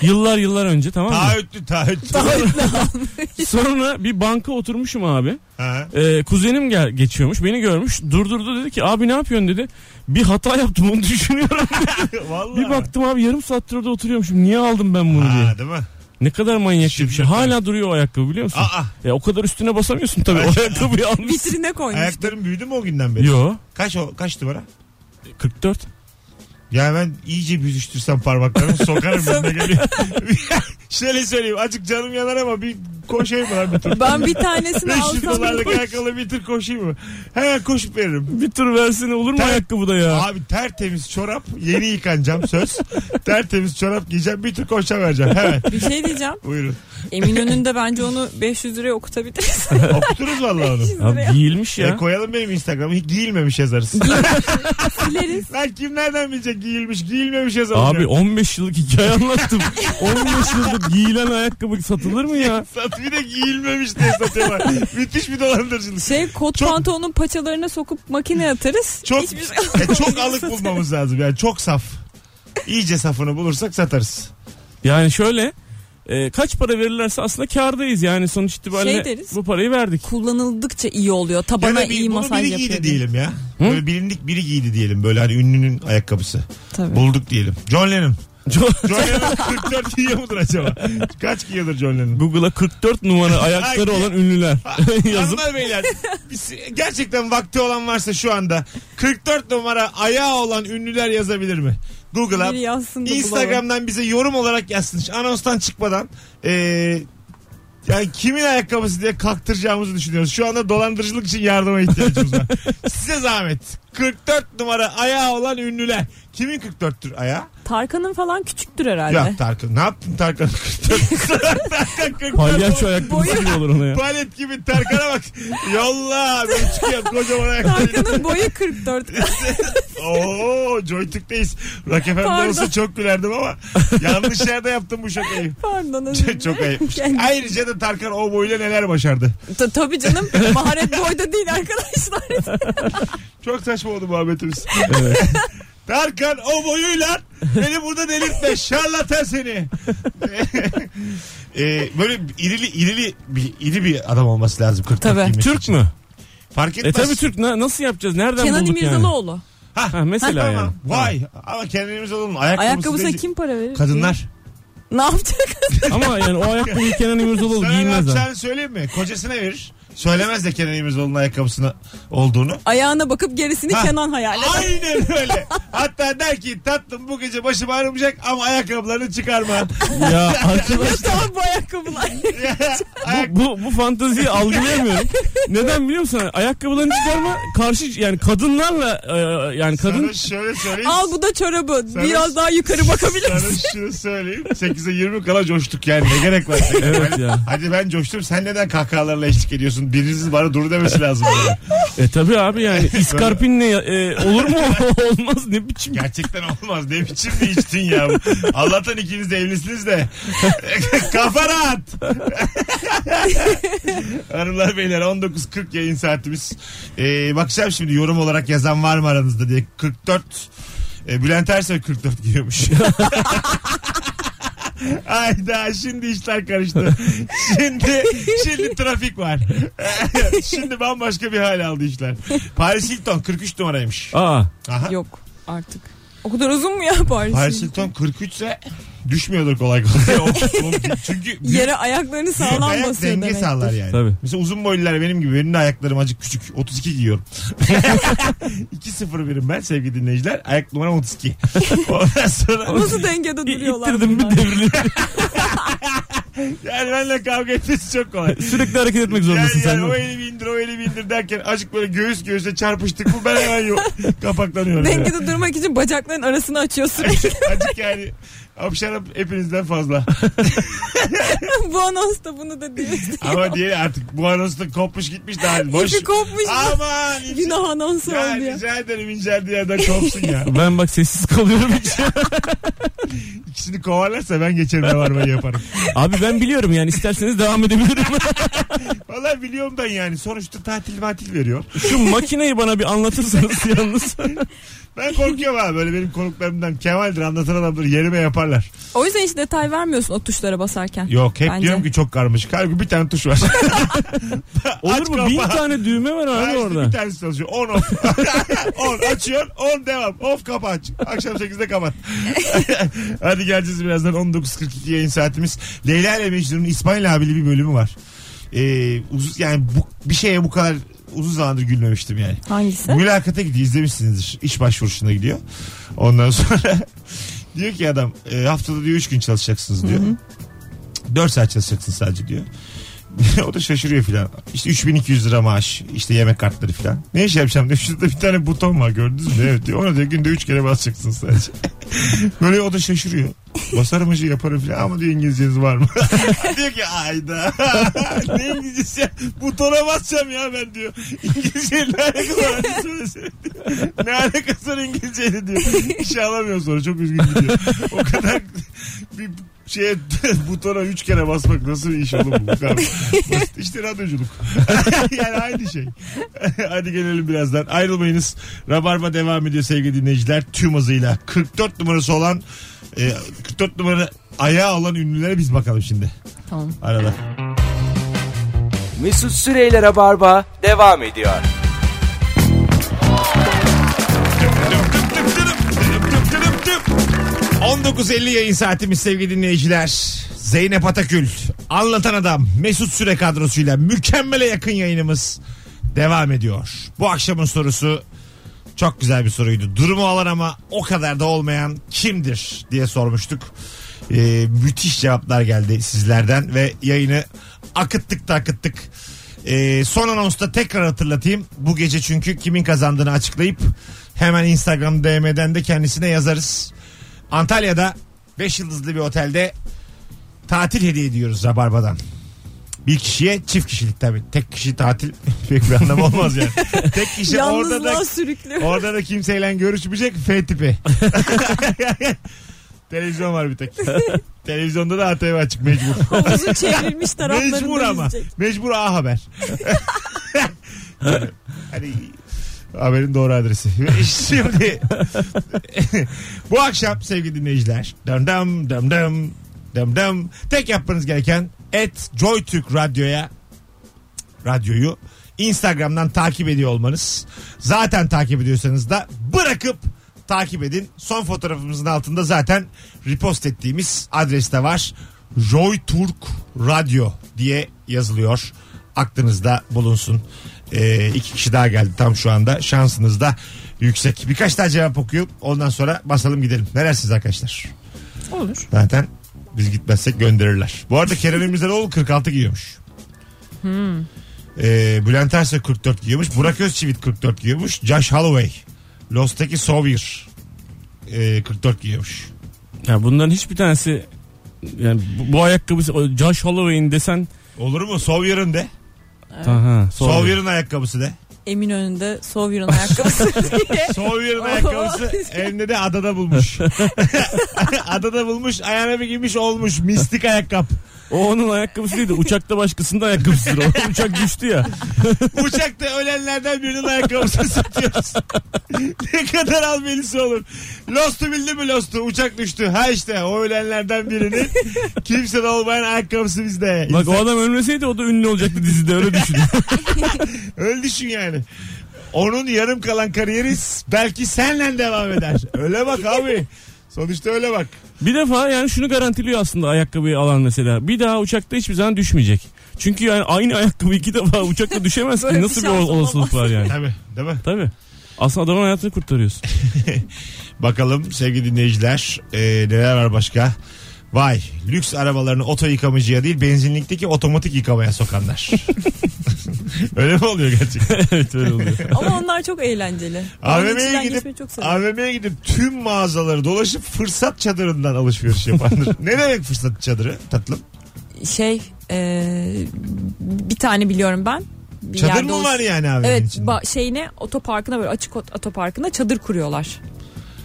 Speaker 3: Yıllar yıllar önce tamam mı?
Speaker 2: Taahhütlü taahhütlü.
Speaker 3: Sonra bir banka oturmuşum abi.
Speaker 2: Ha.
Speaker 3: Ee, kuzenim gel geçiyormuş beni görmüş durdurdu dedi ki abi ne yapıyorsun dedi. Bir hata yaptım onu düşünüyorum.
Speaker 2: Vallahi.
Speaker 3: bir baktım abi yarım saattir orada oturuyormuşum niye aldım ben bunu diye.
Speaker 2: Ha, değil mi?
Speaker 3: Ne kadar manyak bir şey.
Speaker 2: Şimdi-
Speaker 3: Hala duruyor o ayakkabı biliyor musun?
Speaker 2: Aa.
Speaker 3: Ya E, o kadar üstüne basamıyorsun tabii. O ayakkabıyı almış.
Speaker 4: Vitrine koymuş.
Speaker 2: Ayaklarım büyüdü mü o günden beri?
Speaker 3: Yo
Speaker 2: Kaç o kaç numara?
Speaker 3: 44.
Speaker 2: Ya ben iyice büzüştürsem parmaklarımı sokarım önüne geliyor. Şöyle söyleyeyim azıcık canım yanar ama bir koşayım mı lan bir tur?
Speaker 4: Ben bir tanesini
Speaker 2: 500
Speaker 4: alsam
Speaker 2: dolarlık ayakkabı bir tur koşayım mı? Hemen koşup veririm.
Speaker 3: Bir tur versene olur mu
Speaker 2: Tabii.
Speaker 3: ayakkabı da ya?
Speaker 2: Abi tertemiz çorap yeni yıkanacağım söz. tertemiz çorap giyeceğim bir tur koşacağım vereceğim hemen.
Speaker 4: bir şey diyeceğim.
Speaker 2: Buyurun.
Speaker 4: Eminönü'nde bence onu 500 liraya okutabiliriz.
Speaker 2: Okuturuz vallahi onu.
Speaker 4: 500
Speaker 3: Abi
Speaker 4: liraya.
Speaker 3: giyilmiş ya.
Speaker 2: E koyalım benim Instagram'ı Hiç giyilmemiş yazarız.
Speaker 4: Sileriz.
Speaker 2: Lan kim nereden bilecek giyilmiş giyilmemiş yazarız.
Speaker 3: Abi 15 yıllık hikaye anlattım. 15 yıllık giyilen ayakkabı satılır mı ya?
Speaker 2: Sat bir de giyilmemiş diye satıyorlar. Müthiş bir dolandırıcılık.
Speaker 4: Şey kot
Speaker 2: Çok-
Speaker 4: pantolonun paçalarına sokup makineye atarız.
Speaker 2: Çok
Speaker 4: Hiçbir şey
Speaker 2: e, çok alık bulmamız lazım yani çok saf. İyice safını bulursak satarız.
Speaker 3: Yani şöyle e, kaç para verirlerse aslında kârdayız yani sonuç itibariyle
Speaker 4: Şey deriz.
Speaker 3: bu parayı verdik.
Speaker 4: Kullanıldıkça iyi oluyor.
Speaker 2: Ya
Speaker 4: Tabana
Speaker 2: da bir-
Speaker 4: iyi
Speaker 2: bunu
Speaker 4: masaj
Speaker 2: biri
Speaker 4: yapıyor.
Speaker 2: giydi diyelim ya. Böyle bilindik biri giydi diyelim. Böyle hani ünlünün ayakkabısı.
Speaker 4: Tabii.
Speaker 2: Bulduk diyelim. John Lennon.
Speaker 3: Co-
Speaker 2: John Lennon 44 giyiyor mudur acaba? Kaç giyiyordur John Lennon?
Speaker 3: Google'a 44 numara ayakları olan ünlüler yazıp
Speaker 2: Hanımlar beyler biz- gerçekten vakti olan varsa şu anda 44 numara ayağı olan ünlüler yazabilir mi? Google'a
Speaker 4: Biri yazsın da bulalım.
Speaker 2: Instagram'dan bize yorum olarak yazsın. Şu Anonstan çıkmadan eee yani kimin ayakkabısı diye kaktıracağımızı düşünüyoruz. Şu anda dolandırıcılık için yardıma ihtiyacımız var. Size zahmet. 44 numara ayağı olan ünlüler. Kimin 44'tür ayağı?
Speaker 4: Tarkan'ın falan küçüktür herhalde.
Speaker 2: Ya Tarkan. Ne yaptın Tarkan? 44. Tarkan 44.
Speaker 3: palyaço ayakkabısı gibi olur ona ya.
Speaker 2: Palet gibi Tarkan'a bak. Yolla. Ben çıkıyorum kocaman ayakkabıyla.
Speaker 4: Tarkan'ın boyu 44.
Speaker 2: Oo, Joytürk'teyiz. Rock FM'de
Speaker 4: Pardon.
Speaker 2: olsa çok gülerdim ama yanlış yerde yaptım bu şakayı.
Speaker 4: Pardon özür
Speaker 2: Çok-
Speaker 4: dilerim.
Speaker 2: Çok ayıpmış.
Speaker 4: Yani-
Speaker 2: Ayrıca da Tarkan o boyla neler başardı.
Speaker 4: Ta- Tabii canım. Maharet boyda değil arkadaşlar.
Speaker 2: Çok saçma oldu muhabbetimiz. Tarkan o boyuyla beni burada delirtme şarlatan seni. Ee, böyle irili irili bir, iri bir adam olması lazım. 40
Speaker 4: Tabii.
Speaker 3: Türk mü?
Speaker 2: Fark
Speaker 3: E
Speaker 2: etmez.
Speaker 3: tabi Türk na- nasıl yapacağız? Nereden
Speaker 4: Kenan
Speaker 3: bulduk yani?
Speaker 4: İmirzalıoğlu.
Speaker 3: Ha, mesela
Speaker 2: Tamam.
Speaker 3: yani.
Speaker 2: Vay ama kendimiz olalım. Ayakkabısı,
Speaker 4: Ayakkabısına
Speaker 2: deyince-
Speaker 4: kim para verir?
Speaker 2: Kadınlar.
Speaker 4: Ne yapacak?
Speaker 3: Ama yani o ayakkabıyı Kenan İmirzalıoğlu
Speaker 2: Sana ne
Speaker 3: giymez ha.
Speaker 2: yapacağını söyleyeyim mi? Kocasına verir. Söylemez de Kenan İmirzalı'nın ayakkabısına olduğunu.
Speaker 4: Ayağına bakıp gerisini
Speaker 2: Ha.
Speaker 4: Kenan hayal eder.
Speaker 2: Aynen öyle. Hatta der ki tatlım bu gece başım ağrımayacak ama ayakkabılarını çıkarma.
Speaker 3: Ya arkadaş
Speaker 4: Tamam bu ayakkabılar.
Speaker 2: Ayak...
Speaker 3: bu, bu, bu fanteziyi algılayamıyorum. Neden biliyor musun? Hani Ayakkabılarını çıkarma karşı yani kadınlarla e, yani kadın
Speaker 2: Sana şöyle söyleyeyim.
Speaker 4: Al bu da çorabı.
Speaker 2: Sana-
Speaker 4: Biraz daha yukarı bakabilirsin.
Speaker 2: Sana şunu söyleyeyim. 8'e 20 kala coştuk yani. Ne gerek var?
Speaker 3: Evet ya.
Speaker 2: Hadi ben coştum. Sen neden kahkahalarla eşlik ediyorsun? Biriniz bana dur demesi lazım. Yani.
Speaker 3: E tabi abi yani iskarpinle e, olur mu? Olmaz ne biçim.
Speaker 2: Gerçekten olmaz. Ne biçim bir içtin ya. bu? Allah'tan ikiniz de evlisiniz de. Kafa rahat. Hanımlar beyler 19.40 yayın saatimiz. Ee, bakacağım şimdi yorum olarak yazan var mı aranızda diye. 44 e, Bülent Ersoy 44 giyiyormuş. Hayda şimdi işler karıştı. Şimdi şimdi trafik var. şimdi bambaşka bir hal aldı işler. Paris Hilton 43 numaraymış.
Speaker 3: Aa
Speaker 2: Aha.
Speaker 4: Yok artık. O kadar uzun mu ya Paris?
Speaker 2: Paris Hilton 43 ise düşmüyordur kolay kolay. O- o- Çünkü
Speaker 4: Yere ayaklarını
Speaker 2: büyük
Speaker 4: sağlam
Speaker 2: ayak
Speaker 4: basıyor
Speaker 2: denge
Speaker 4: demektir.
Speaker 2: sağlar yani.
Speaker 3: Tabii.
Speaker 2: Mesela uzun boylular benim gibi. Benim de ayaklarım acık küçük. 32 giyiyorum. 2-0 birim ben sevgili dinleyiciler. Ayak numaram 32. Ondan sonra
Speaker 4: Nasıl dengede
Speaker 3: i-
Speaker 4: duruyorlar?
Speaker 3: ittirdim bir
Speaker 4: bunlar?
Speaker 3: devriliyor.
Speaker 2: yani benimle kavga etmesi çok kolay.
Speaker 3: Sürekli hareket etmek zorundasın
Speaker 2: yani,
Speaker 3: sen.
Speaker 2: yani o
Speaker 3: değil mi?
Speaker 2: eli bir indir o eli bir indir derken acık böyle göğüs göğüse çarpıştık mı ben hemen yok. Kapaklanıyorum. yani.
Speaker 4: Dengede durmak için bacakların arasını açıyorsun.
Speaker 2: Acık yani hapşarım hepinizden fazla.
Speaker 4: bu anons da bunu da diyor.
Speaker 2: Ama diye artık bu anonsu da kopmuş gitmiş daha boş.
Speaker 4: İpi kopmuş.
Speaker 2: Aman
Speaker 4: Günah anonsu
Speaker 2: Ya
Speaker 4: oldu ya.
Speaker 2: rica ederim inceldiği yerden kopsun ya.
Speaker 3: Ben bak sessiz kalıyorum hiç.
Speaker 2: İkisini kovarlarsa ben geçerim ne var ben yaparım.
Speaker 3: Abi ben biliyorum yani isterseniz devam edebilirim.
Speaker 2: Vallahi biliyorum ben yani. Sonuçta tatil matil veriyor.
Speaker 3: Şu makineyi bana bir anlatırsanız yalnız.
Speaker 2: Ben korkuyorum abi böyle benim konuklarımdan. Kemal'dir anlatan adamdır yerime yaparlar.
Speaker 4: O yüzden hiç detay vermiyorsun o tuşlara basarken.
Speaker 2: Yok hep
Speaker 4: Bence.
Speaker 2: diyorum ki çok karmaşık. Halbuki bir tane tuş var.
Speaker 3: Olur
Speaker 2: Aç
Speaker 3: mu?
Speaker 2: kapağı.
Speaker 3: Bin tane düğme var
Speaker 2: Ha
Speaker 3: abi
Speaker 2: işte
Speaker 3: orada.
Speaker 2: Bir tanesi çalışıyor. 10 off. 10 açıyorsun 10 devam. Off kapa aç. Akşam 8'de kapat. Hadi geleceğiz birazdan 19.42 yayın saatimiz. Leyla ile Mecnun'un İsmail abili bir bölümü var. Ee, uzun, yani bu, bir şeye bu kadar uzun zamandır gülmemiştim yani.
Speaker 4: Hangisi?
Speaker 2: Mülakata gidiyor izlemişsinizdir. İş başvuruşuna gidiyor. Ondan sonra diyor ki adam e, haftada diyor 3 gün çalışacaksınız diyor. 4 saat çalışacaksınız sadece diyor. o da şaşırıyor filan. İşte 3200 lira maaş, işte yemek kartları filan. Ne iş yapacağım diyor. Şurada bir tane buton var gördünüz mü? Evet diyor. Ona diyor günde 3 kere basacaksınız sadece. Böyle o da şaşırıyor. Basarım hacı yaparım filan ama diyor İngilizceniz var mı? diyor ki ayda. ne İngilizcesi? ya? Butona basacağım ya ben diyor. İngilizceyle ne alakası var? Hadi söylesene diyor. Ne alakası var İngilizceyle diyor. İş alamıyor sonra çok üzgün gidiyor. O kadar bir şeye butona üç kere basmak nasıl bir iş oğlum bu? bu kadar basit. İşte radyoculuk. yani aynı şey. Hadi gelelim birazdan. Ayrılmayınız. Rabarba devam ediyor sevgili dinleyiciler. Tüm hızıyla 44 numarası olan e, 44 numara ayağı olan ünlülere biz bakalım şimdi.
Speaker 4: Tamam.
Speaker 2: Arada.
Speaker 1: Mesut Süreyler'e barba devam ediyor.
Speaker 2: Dıp dıp dıp, dıp dıp dıp dıp. 19.50 yayın saatimiz sevgili dinleyiciler. Zeynep Atakül, Anlatan Adam, Mesut Süre kadrosuyla mükemmele yakın yayınımız devam ediyor. Bu akşamın sorusu çok güzel bir soruydu. Durumu olan ama o kadar da olmayan kimdir diye sormuştuk. Ee, müthiş cevaplar geldi sizlerden ve yayını akıttık da akıttık. Ee, son anonsta tekrar hatırlatayım. Bu gece çünkü kimin kazandığını açıklayıp hemen Instagram DM'den de kendisine yazarız. Antalya'da 5 yıldızlı bir otelde tatil hediye ediyoruz Rabarba'dan. Bir kişiye çift kişilik tabii. Tek kişi tatil pek bir anlamı olmaz yani. Tek kişi orada da
Speaker 4: Yalnızlığa sürüklüyor.
Speaker 2: Orada da kimseyle görüşmeyecek F tipi. Televizyon var bir tek. Televizyonda da ATV açık mecbur.
Speaker 4: Havuzu çevrilmiş taraflarında
Speaker 2: mecbur ama.
Speaker 4: yüzecek.
Speaker 2: Mecbur A Haber. hani haberin doğru adresi. Şimdi bu akşam sevgili dinleyiciler. Dam dam dam dam dam dam. Tek yapmanız gereken et JoyTürk Radyo'ya radyoyu Instagram'dan takip ediyor olmanız. Zaten takip ediyorsanız da bırakıp takip edin. Son fotoğrafımızın altında zaten repost ettiğimiz adres de var. Joy Turk Radyo diye yazılıyor. Aklınızda bulunsun. Ee, iki kişi daha geldi tam şu anda. Şansınız da yüksek. Birkaç daha cevap okuyup ondan sonra basalım gidelim. Ne dersiniz arkadaşlar?
Speaker 4: Olur.
Speaker 2: Zaten biz gitmezsek gönderirler. Bu arada Kerem İmirzalıoğlu 46 giyiyormuş. Ee, Bülent Ersoy 44 giyiyormuş. Burak Özçivit 44 giyiyormuş. Josh Holloway. Lost'taki Sawyer. ee, 44 giyiyormuş.
Speaker 3: Ya bunların hiçbir tanesi yani bu, bu ayakkabısı o Josh Holloway'in desen
Speaker 2: Olur mu? Sawyer'ın de.
Speaker 3: Aha, sonra.
Speaker 2: Sawyer'ın ayakkabısı de.
Speaker 4: Emin önünde Sawyer'ın ayakkabısı diye.
Speaker 2: Sawyer'ın ayakkabısı elinde de adada bulmuş. adada bulmuş. Ayağına bir giymiş olmuş. Mistik ayakkabı.
Speaker 3: O onun ayakkabısı değil de uçakta başkasının ayakkabısıdır. O uçak düştü ya.
Speaker 2: Uçakta ölenlerden birinin ayakkabısını satıyoruz. ne kadar almelisi olur. Lost'u bildin mi Lost'u? Uçak düştü. Ha işte o ölenlerden birinin kimse de olmayan ayakkabısı bizde.
Speaker 3: Bak o adam ölmeseydi o da ünlü olacaktı dizide öyle düşün.
Speaker 2: Öyle düşün yani. Onun yarım kalan kariyeri belki senle devam eder. Öyle bak abi. Sonuçta öyle bak.
Speaker 3: Bir defa yani şunu garantiliyor aslında ayakkabıyı alan mesela. Bir daha uçakta hiçbir zaman düşmeyecek. Çünkü yani aynı ayakkabı iki defa uçakta düşemez
Speaker 4: Böyle
Speaker 3: ki.
Speaker 4: bir
Speaker 3: Nasıl bir
Speaker 4: şans
Speaker 3: ol- olasılık var yani.
Speaker 2: Tabii değil mi?
Speaker 3: Tabii. Aslında adamın hayatını kurtarıyorsun.
Speaker 2: Bakalım sevgili dinleyiciler e, neler var başka? Vay lüks arabalarını oto yıkamacıya değil benzinlikteki otomatik yıkamaya sokanlar. Öyle mi oluyor gerçekten?
Speaker 3: evet öyle oluyor.
Speaker 4: Ama onlar çok eğlenceli. Onun
Speaker 2: AVM'ye
Speaker 4: içinden geçmeyi
Speaker 2: gidip
Speaker 4: çok seviyorum.
Speaker 2: AVM'ye gidip tüm mağazaları dolaşıp fırsat çadırından alışveriş yapanlar. ne demek fırsat çadırı tatlım?
Speaker 4: Şey e, bir tane biliyorum ben. Bir
Speaker 2: Çadır
Speaker 4: yerde
Speaker 2: mı
Speaker 4: olsun.
Speaker 2: var yani AVM'nin
Speaker 4: Evet
Speaker 2: içinde?
Speaker 4: ba- şeyine otoparkına böyle açık ot- otoparkına çadır kuruyorlar.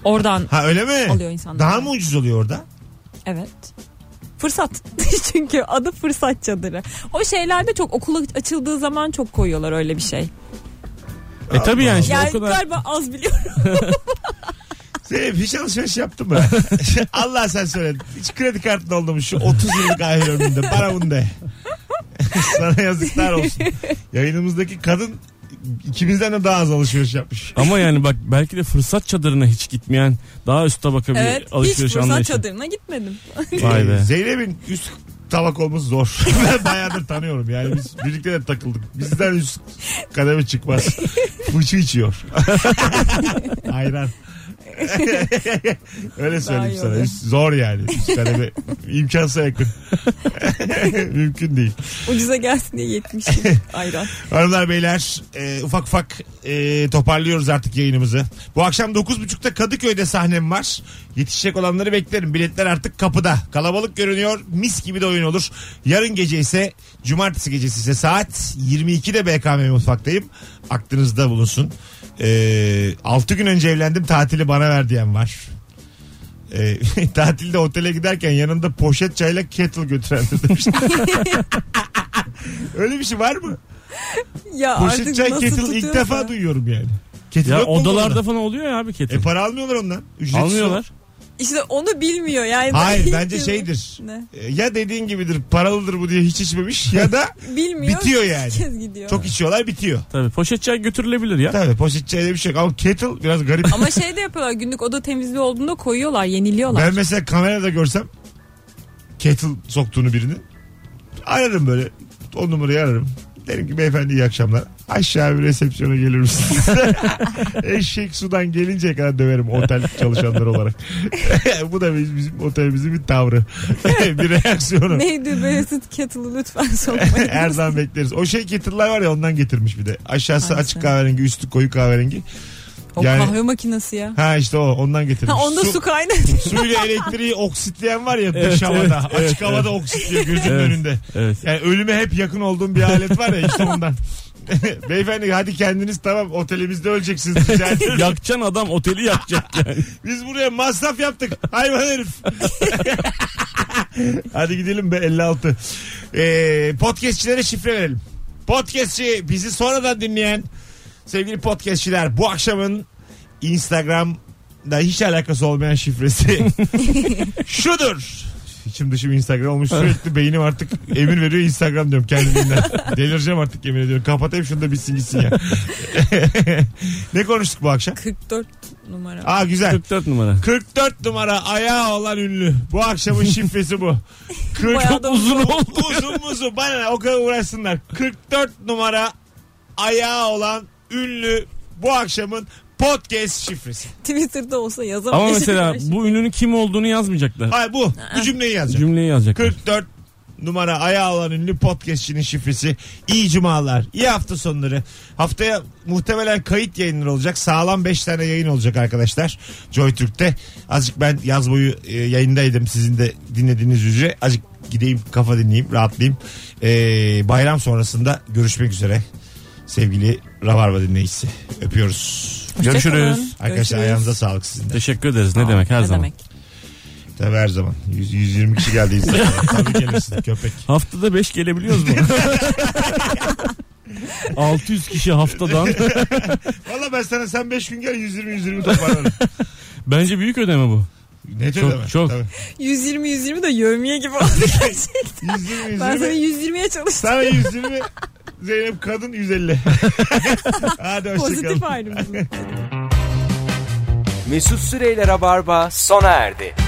Speaker 4: Oradan
Speaker 2: ha öyle mi?
Speaker 4: Alıyor insanlar.
Speaker 2: Daha mı ucuz oluyor orada?
Speaker 4: evet. Fırsat. Çünkü adı fırsat çadırı. O şeylerde çok okula açıldığı zaman çok koyuyorlar öyle bir şey.
Speaker 3: E tabi yani şimdi
Speaker 4: Yani
Speaker 3: o kadar
Speaker 4: galiba az biliyorum.
Speaker 2: Zeynep hiç alışveriş yaptın mı? Allah sen söyle. Hiç kredi kartın oldu mu şu 30 yıllık aile ömründe? Bana bunu de. Sana yazıklar olsun. Yayınımızdaki kadın ikimizden de daha az alışveriş yapmış.
Speaker 3: ama yani bak belki de fırsat çadırına hiç gitmeyen daha üst tabaka bir
Speaker 4: Evet. Hiç
Speaker 3: alışveriş
Speaker 4: fırsat
Speaker 3: anlayışı.
Speaker 4: çadırına gitmedim.
Speaker 3: Vay be.
Speaker 2: Ee, Zeynep'in üst tabak olması zor. ben bayağıdır tanıyorum yani biz birlikte de takıldık. Bizden üst kademe çıkmaz. Fıçı içiyor. Ayran. Öyle söyleyeyim
Speaker 4: iyi
Speaker 2: sana.
Speaker 4: oluyor.
Speaker 2: Üst- zor yani. Üst kademe imkansa yakın. Mümkün değil.
Speaker 4: Ucuza gelsin diye 70 ayran.
Speaker 2: Hanımlar beyler e, ufak ufak e, toparlıyoruz artık yayınımızı. Bu akşam 9.30'da Kadıköy'de sahnem var. Yetişecek olanları beklerim. Biletler artık kapıda. Kalabalık görünüyor. Mis gibi de oyun olur. Yarın gece ise cumartesi gecesi ise saat 22'de BKM mutfaktayım. Aklınızda bulunsun. E, 6 gün önce evlendim tatili bana ver diyen var. E, tatilde otele giderken yanında poşet çayla kettle götürendir demiş. Öyle bir şey var mı?
Speaker 4: Ya
Speaker 2: Poşet
Speaker 4: artık
Speaker 2: çay
Speaker 4: nasıl
Speaker 2: kettle ilk
Speaker 4: tutuyorsa.
Speaker 2: defa duyuyorum yani. Kettle
Speaker 3: Ya
Speaker 2: yok mu
Speaker 3: odalarda
Speaker 2: bunlarda?
Speaker 3: falan oluyor ya abi
Speaker 2: E
Speaker 3: ketin.
Speaker 2: para almıyorlar ondan. Ücretsiz
Speaker 3: Almıyorlar.
Speaker 4: İşte onu bilmiyor yani.
Speaker 2: Hayır bence şeydir.
Speaker 4: Ne?
Speaker 2: E, Ya dediğin gibidir paralıdır bu diye hiç içmemiş ya da
Speaker 4: Bilmiyor.
Speaker 2: Bitiyor yani.
Speaker 4: İlk kez gidiyor.
Speaker 2: çok içiyorlar bitiyor.
Speaker 3: Tabii poşet çay götürülebilir ya.
Speaker 2: Tabii poşet çayda bir şey yok ama kettle biraz garip.
Speaker 4: Ama şey de yapıyorlar günlük oda temizliği olduğunda koyuyorlar yeniliyorlar.
Speaker 2: ben mesela kamerada görsem kettle soktuğunu birini ararım böyle o numarayı ararım. Derim ki beyefendi iyi akşamlar. Aşağı bir resepsiyona gelir misiniz? Eşek sudan gelinceye kadar döverim otel çalışanları olarak. Bu da bizim, bizim otelimizin bir tavrı. bir reaksiyonu.
Speaker 4: Neydi böyle süt kettle'ı lütfen sokmayın.
Speaker 2: Her zaman bekleriz. O şey kettle'lar var ya ondan getirmiş bir de. Aşağısı
Speaker 4: Hangisi?
Speaker 2: açık kahverengi, üstü koyu kahverengi.
Speaker 4: o
Speaker 2: yani-
Speaker 4: kahve makinesi ya.
Speaker 2: Ha işte o ondan getirmiş.
Speaker 4: Ha onda su, kaynatıyor.
Speaker 2: suyla elektriği oksitleyen var ya
Speaker 3: Evet,
Speaker 2: dış havada.
Speaker 3: evet,
Speaker 2: açık
Speaker 3: evet,
Speaker 2: havada oksitliyor gözünün
Speaker 3: Evet.
Speaker 2: önünde.
Speaker 3: Evet.
Speaker 2: Yani ölüme hep yakın olduğum bir alet var ya işte ondan. Beyefendi hadi kendiniz tamam otelimizde öleceksiniz rica ediyorum.
Speaker 3: Yakacaksın adam oteli yakacak yani.
Speaker 2: Biz buraya masraf yaptık hayvan herif. hadi gidelim be 56. Ee, podcastçilere şifre verelim. Podcastçi bizi sonradan dinleyen sevgili podcastçiler bu akşamın Instagram'da hiç alakası olmayan şifresi şudur. İçim dışım Instagram olmuş sürekli beynim artık emir veriyor Instagram diyorum kendimden. Delireceğim artık yemin ediyorum. Kapatayım şunu da bitsin gitsin ya. ne konuştuk bu akşam?
Speaker 4: 44 numara.
Speaker 2: Aa güzel.
Speaker 3: 44 numara.
Speaker 2: 44 numara ayağı olan ünlü. Bu akşamın şifresi bu. 40
Speaker 4: Bayağı da
Speaker 3: Uzun oldu.
Speaker 2: uzun uzun bana ne, o kadar uğraşsınlar. 44 numara ayağı olan ünlü bu akşamın podcast şifresi.
Speaker 4: Twitter'da olsa yazamaz.
Speaker 3: Ama mesela bu ünlünün kim olduğunu yazmayacaklar.
Speaker 2: Hayır bu. Bu cümleyi yazacağım.
Speaker 3: Cümleyi yazacaklar.
Speaker 2: 44 numara ayağı olan ünlü podcastçinin şifresi. İyi cumalar, iyi hafta sonları. Haftaya muhtemelen kayıt yayınları olacak. Sağlam 5 tane yayın olacak arkadaşlar. JoyTürk'te. Azıcık ben yaz boyu e, yayındaydım sizin de dinlediğiniz üzere. Azıcık gideyim kafa dinleyeyim, rahatlayayım. E, bayram sonrasında görüşmek üzere. Sevgili Rabarba dinleyicisi. Öpüyoruz.
Speaker 4: Hoşçakalın.
Speaker 2: Arkadaşlar
Speaker 4: Görüşürüz.
Speaker 2: ayağınıza sağlık sizin de.
Speaker 3: Teşekkür ederiz. Ne demek her
Speaker 4: ne
Speaker 3: zaman.
Speaker 4: Demek.
Speaker 2: Tabii her zaman. 100, 120 kişi geldi Instagram'a. Tabii gelirsin köpek.
Speaker 3: Haftada 5 gelebiliyoruz mu? 600 kişi haftadan.
Speaker 2: Valla ben sana sen 5 gün gel 120 120 toparlarım.
Speaker 3: Bence büyük ödeme bu.
Speaker 2: ne
Speaker 3: Çok,
Speaker 2: ödeme.
Speaker 3: çok.
Speaker 2: Tabii.
Speaker 4: 120 120 de yövmiye gibi oldu gerçekten.
Speaker 2: 120
Speaker 4: ben sana
Speaker 2: 120.
Speaker 4: 120'ye çalıştım.
Speaker 2: Sana 120. Zeynep kadın 150. Hadi hoşçakalın.
Speaker 4: Pozitif ayrımcılık.
Speaker 1: Mesut Süreyler'e barba sona erdi.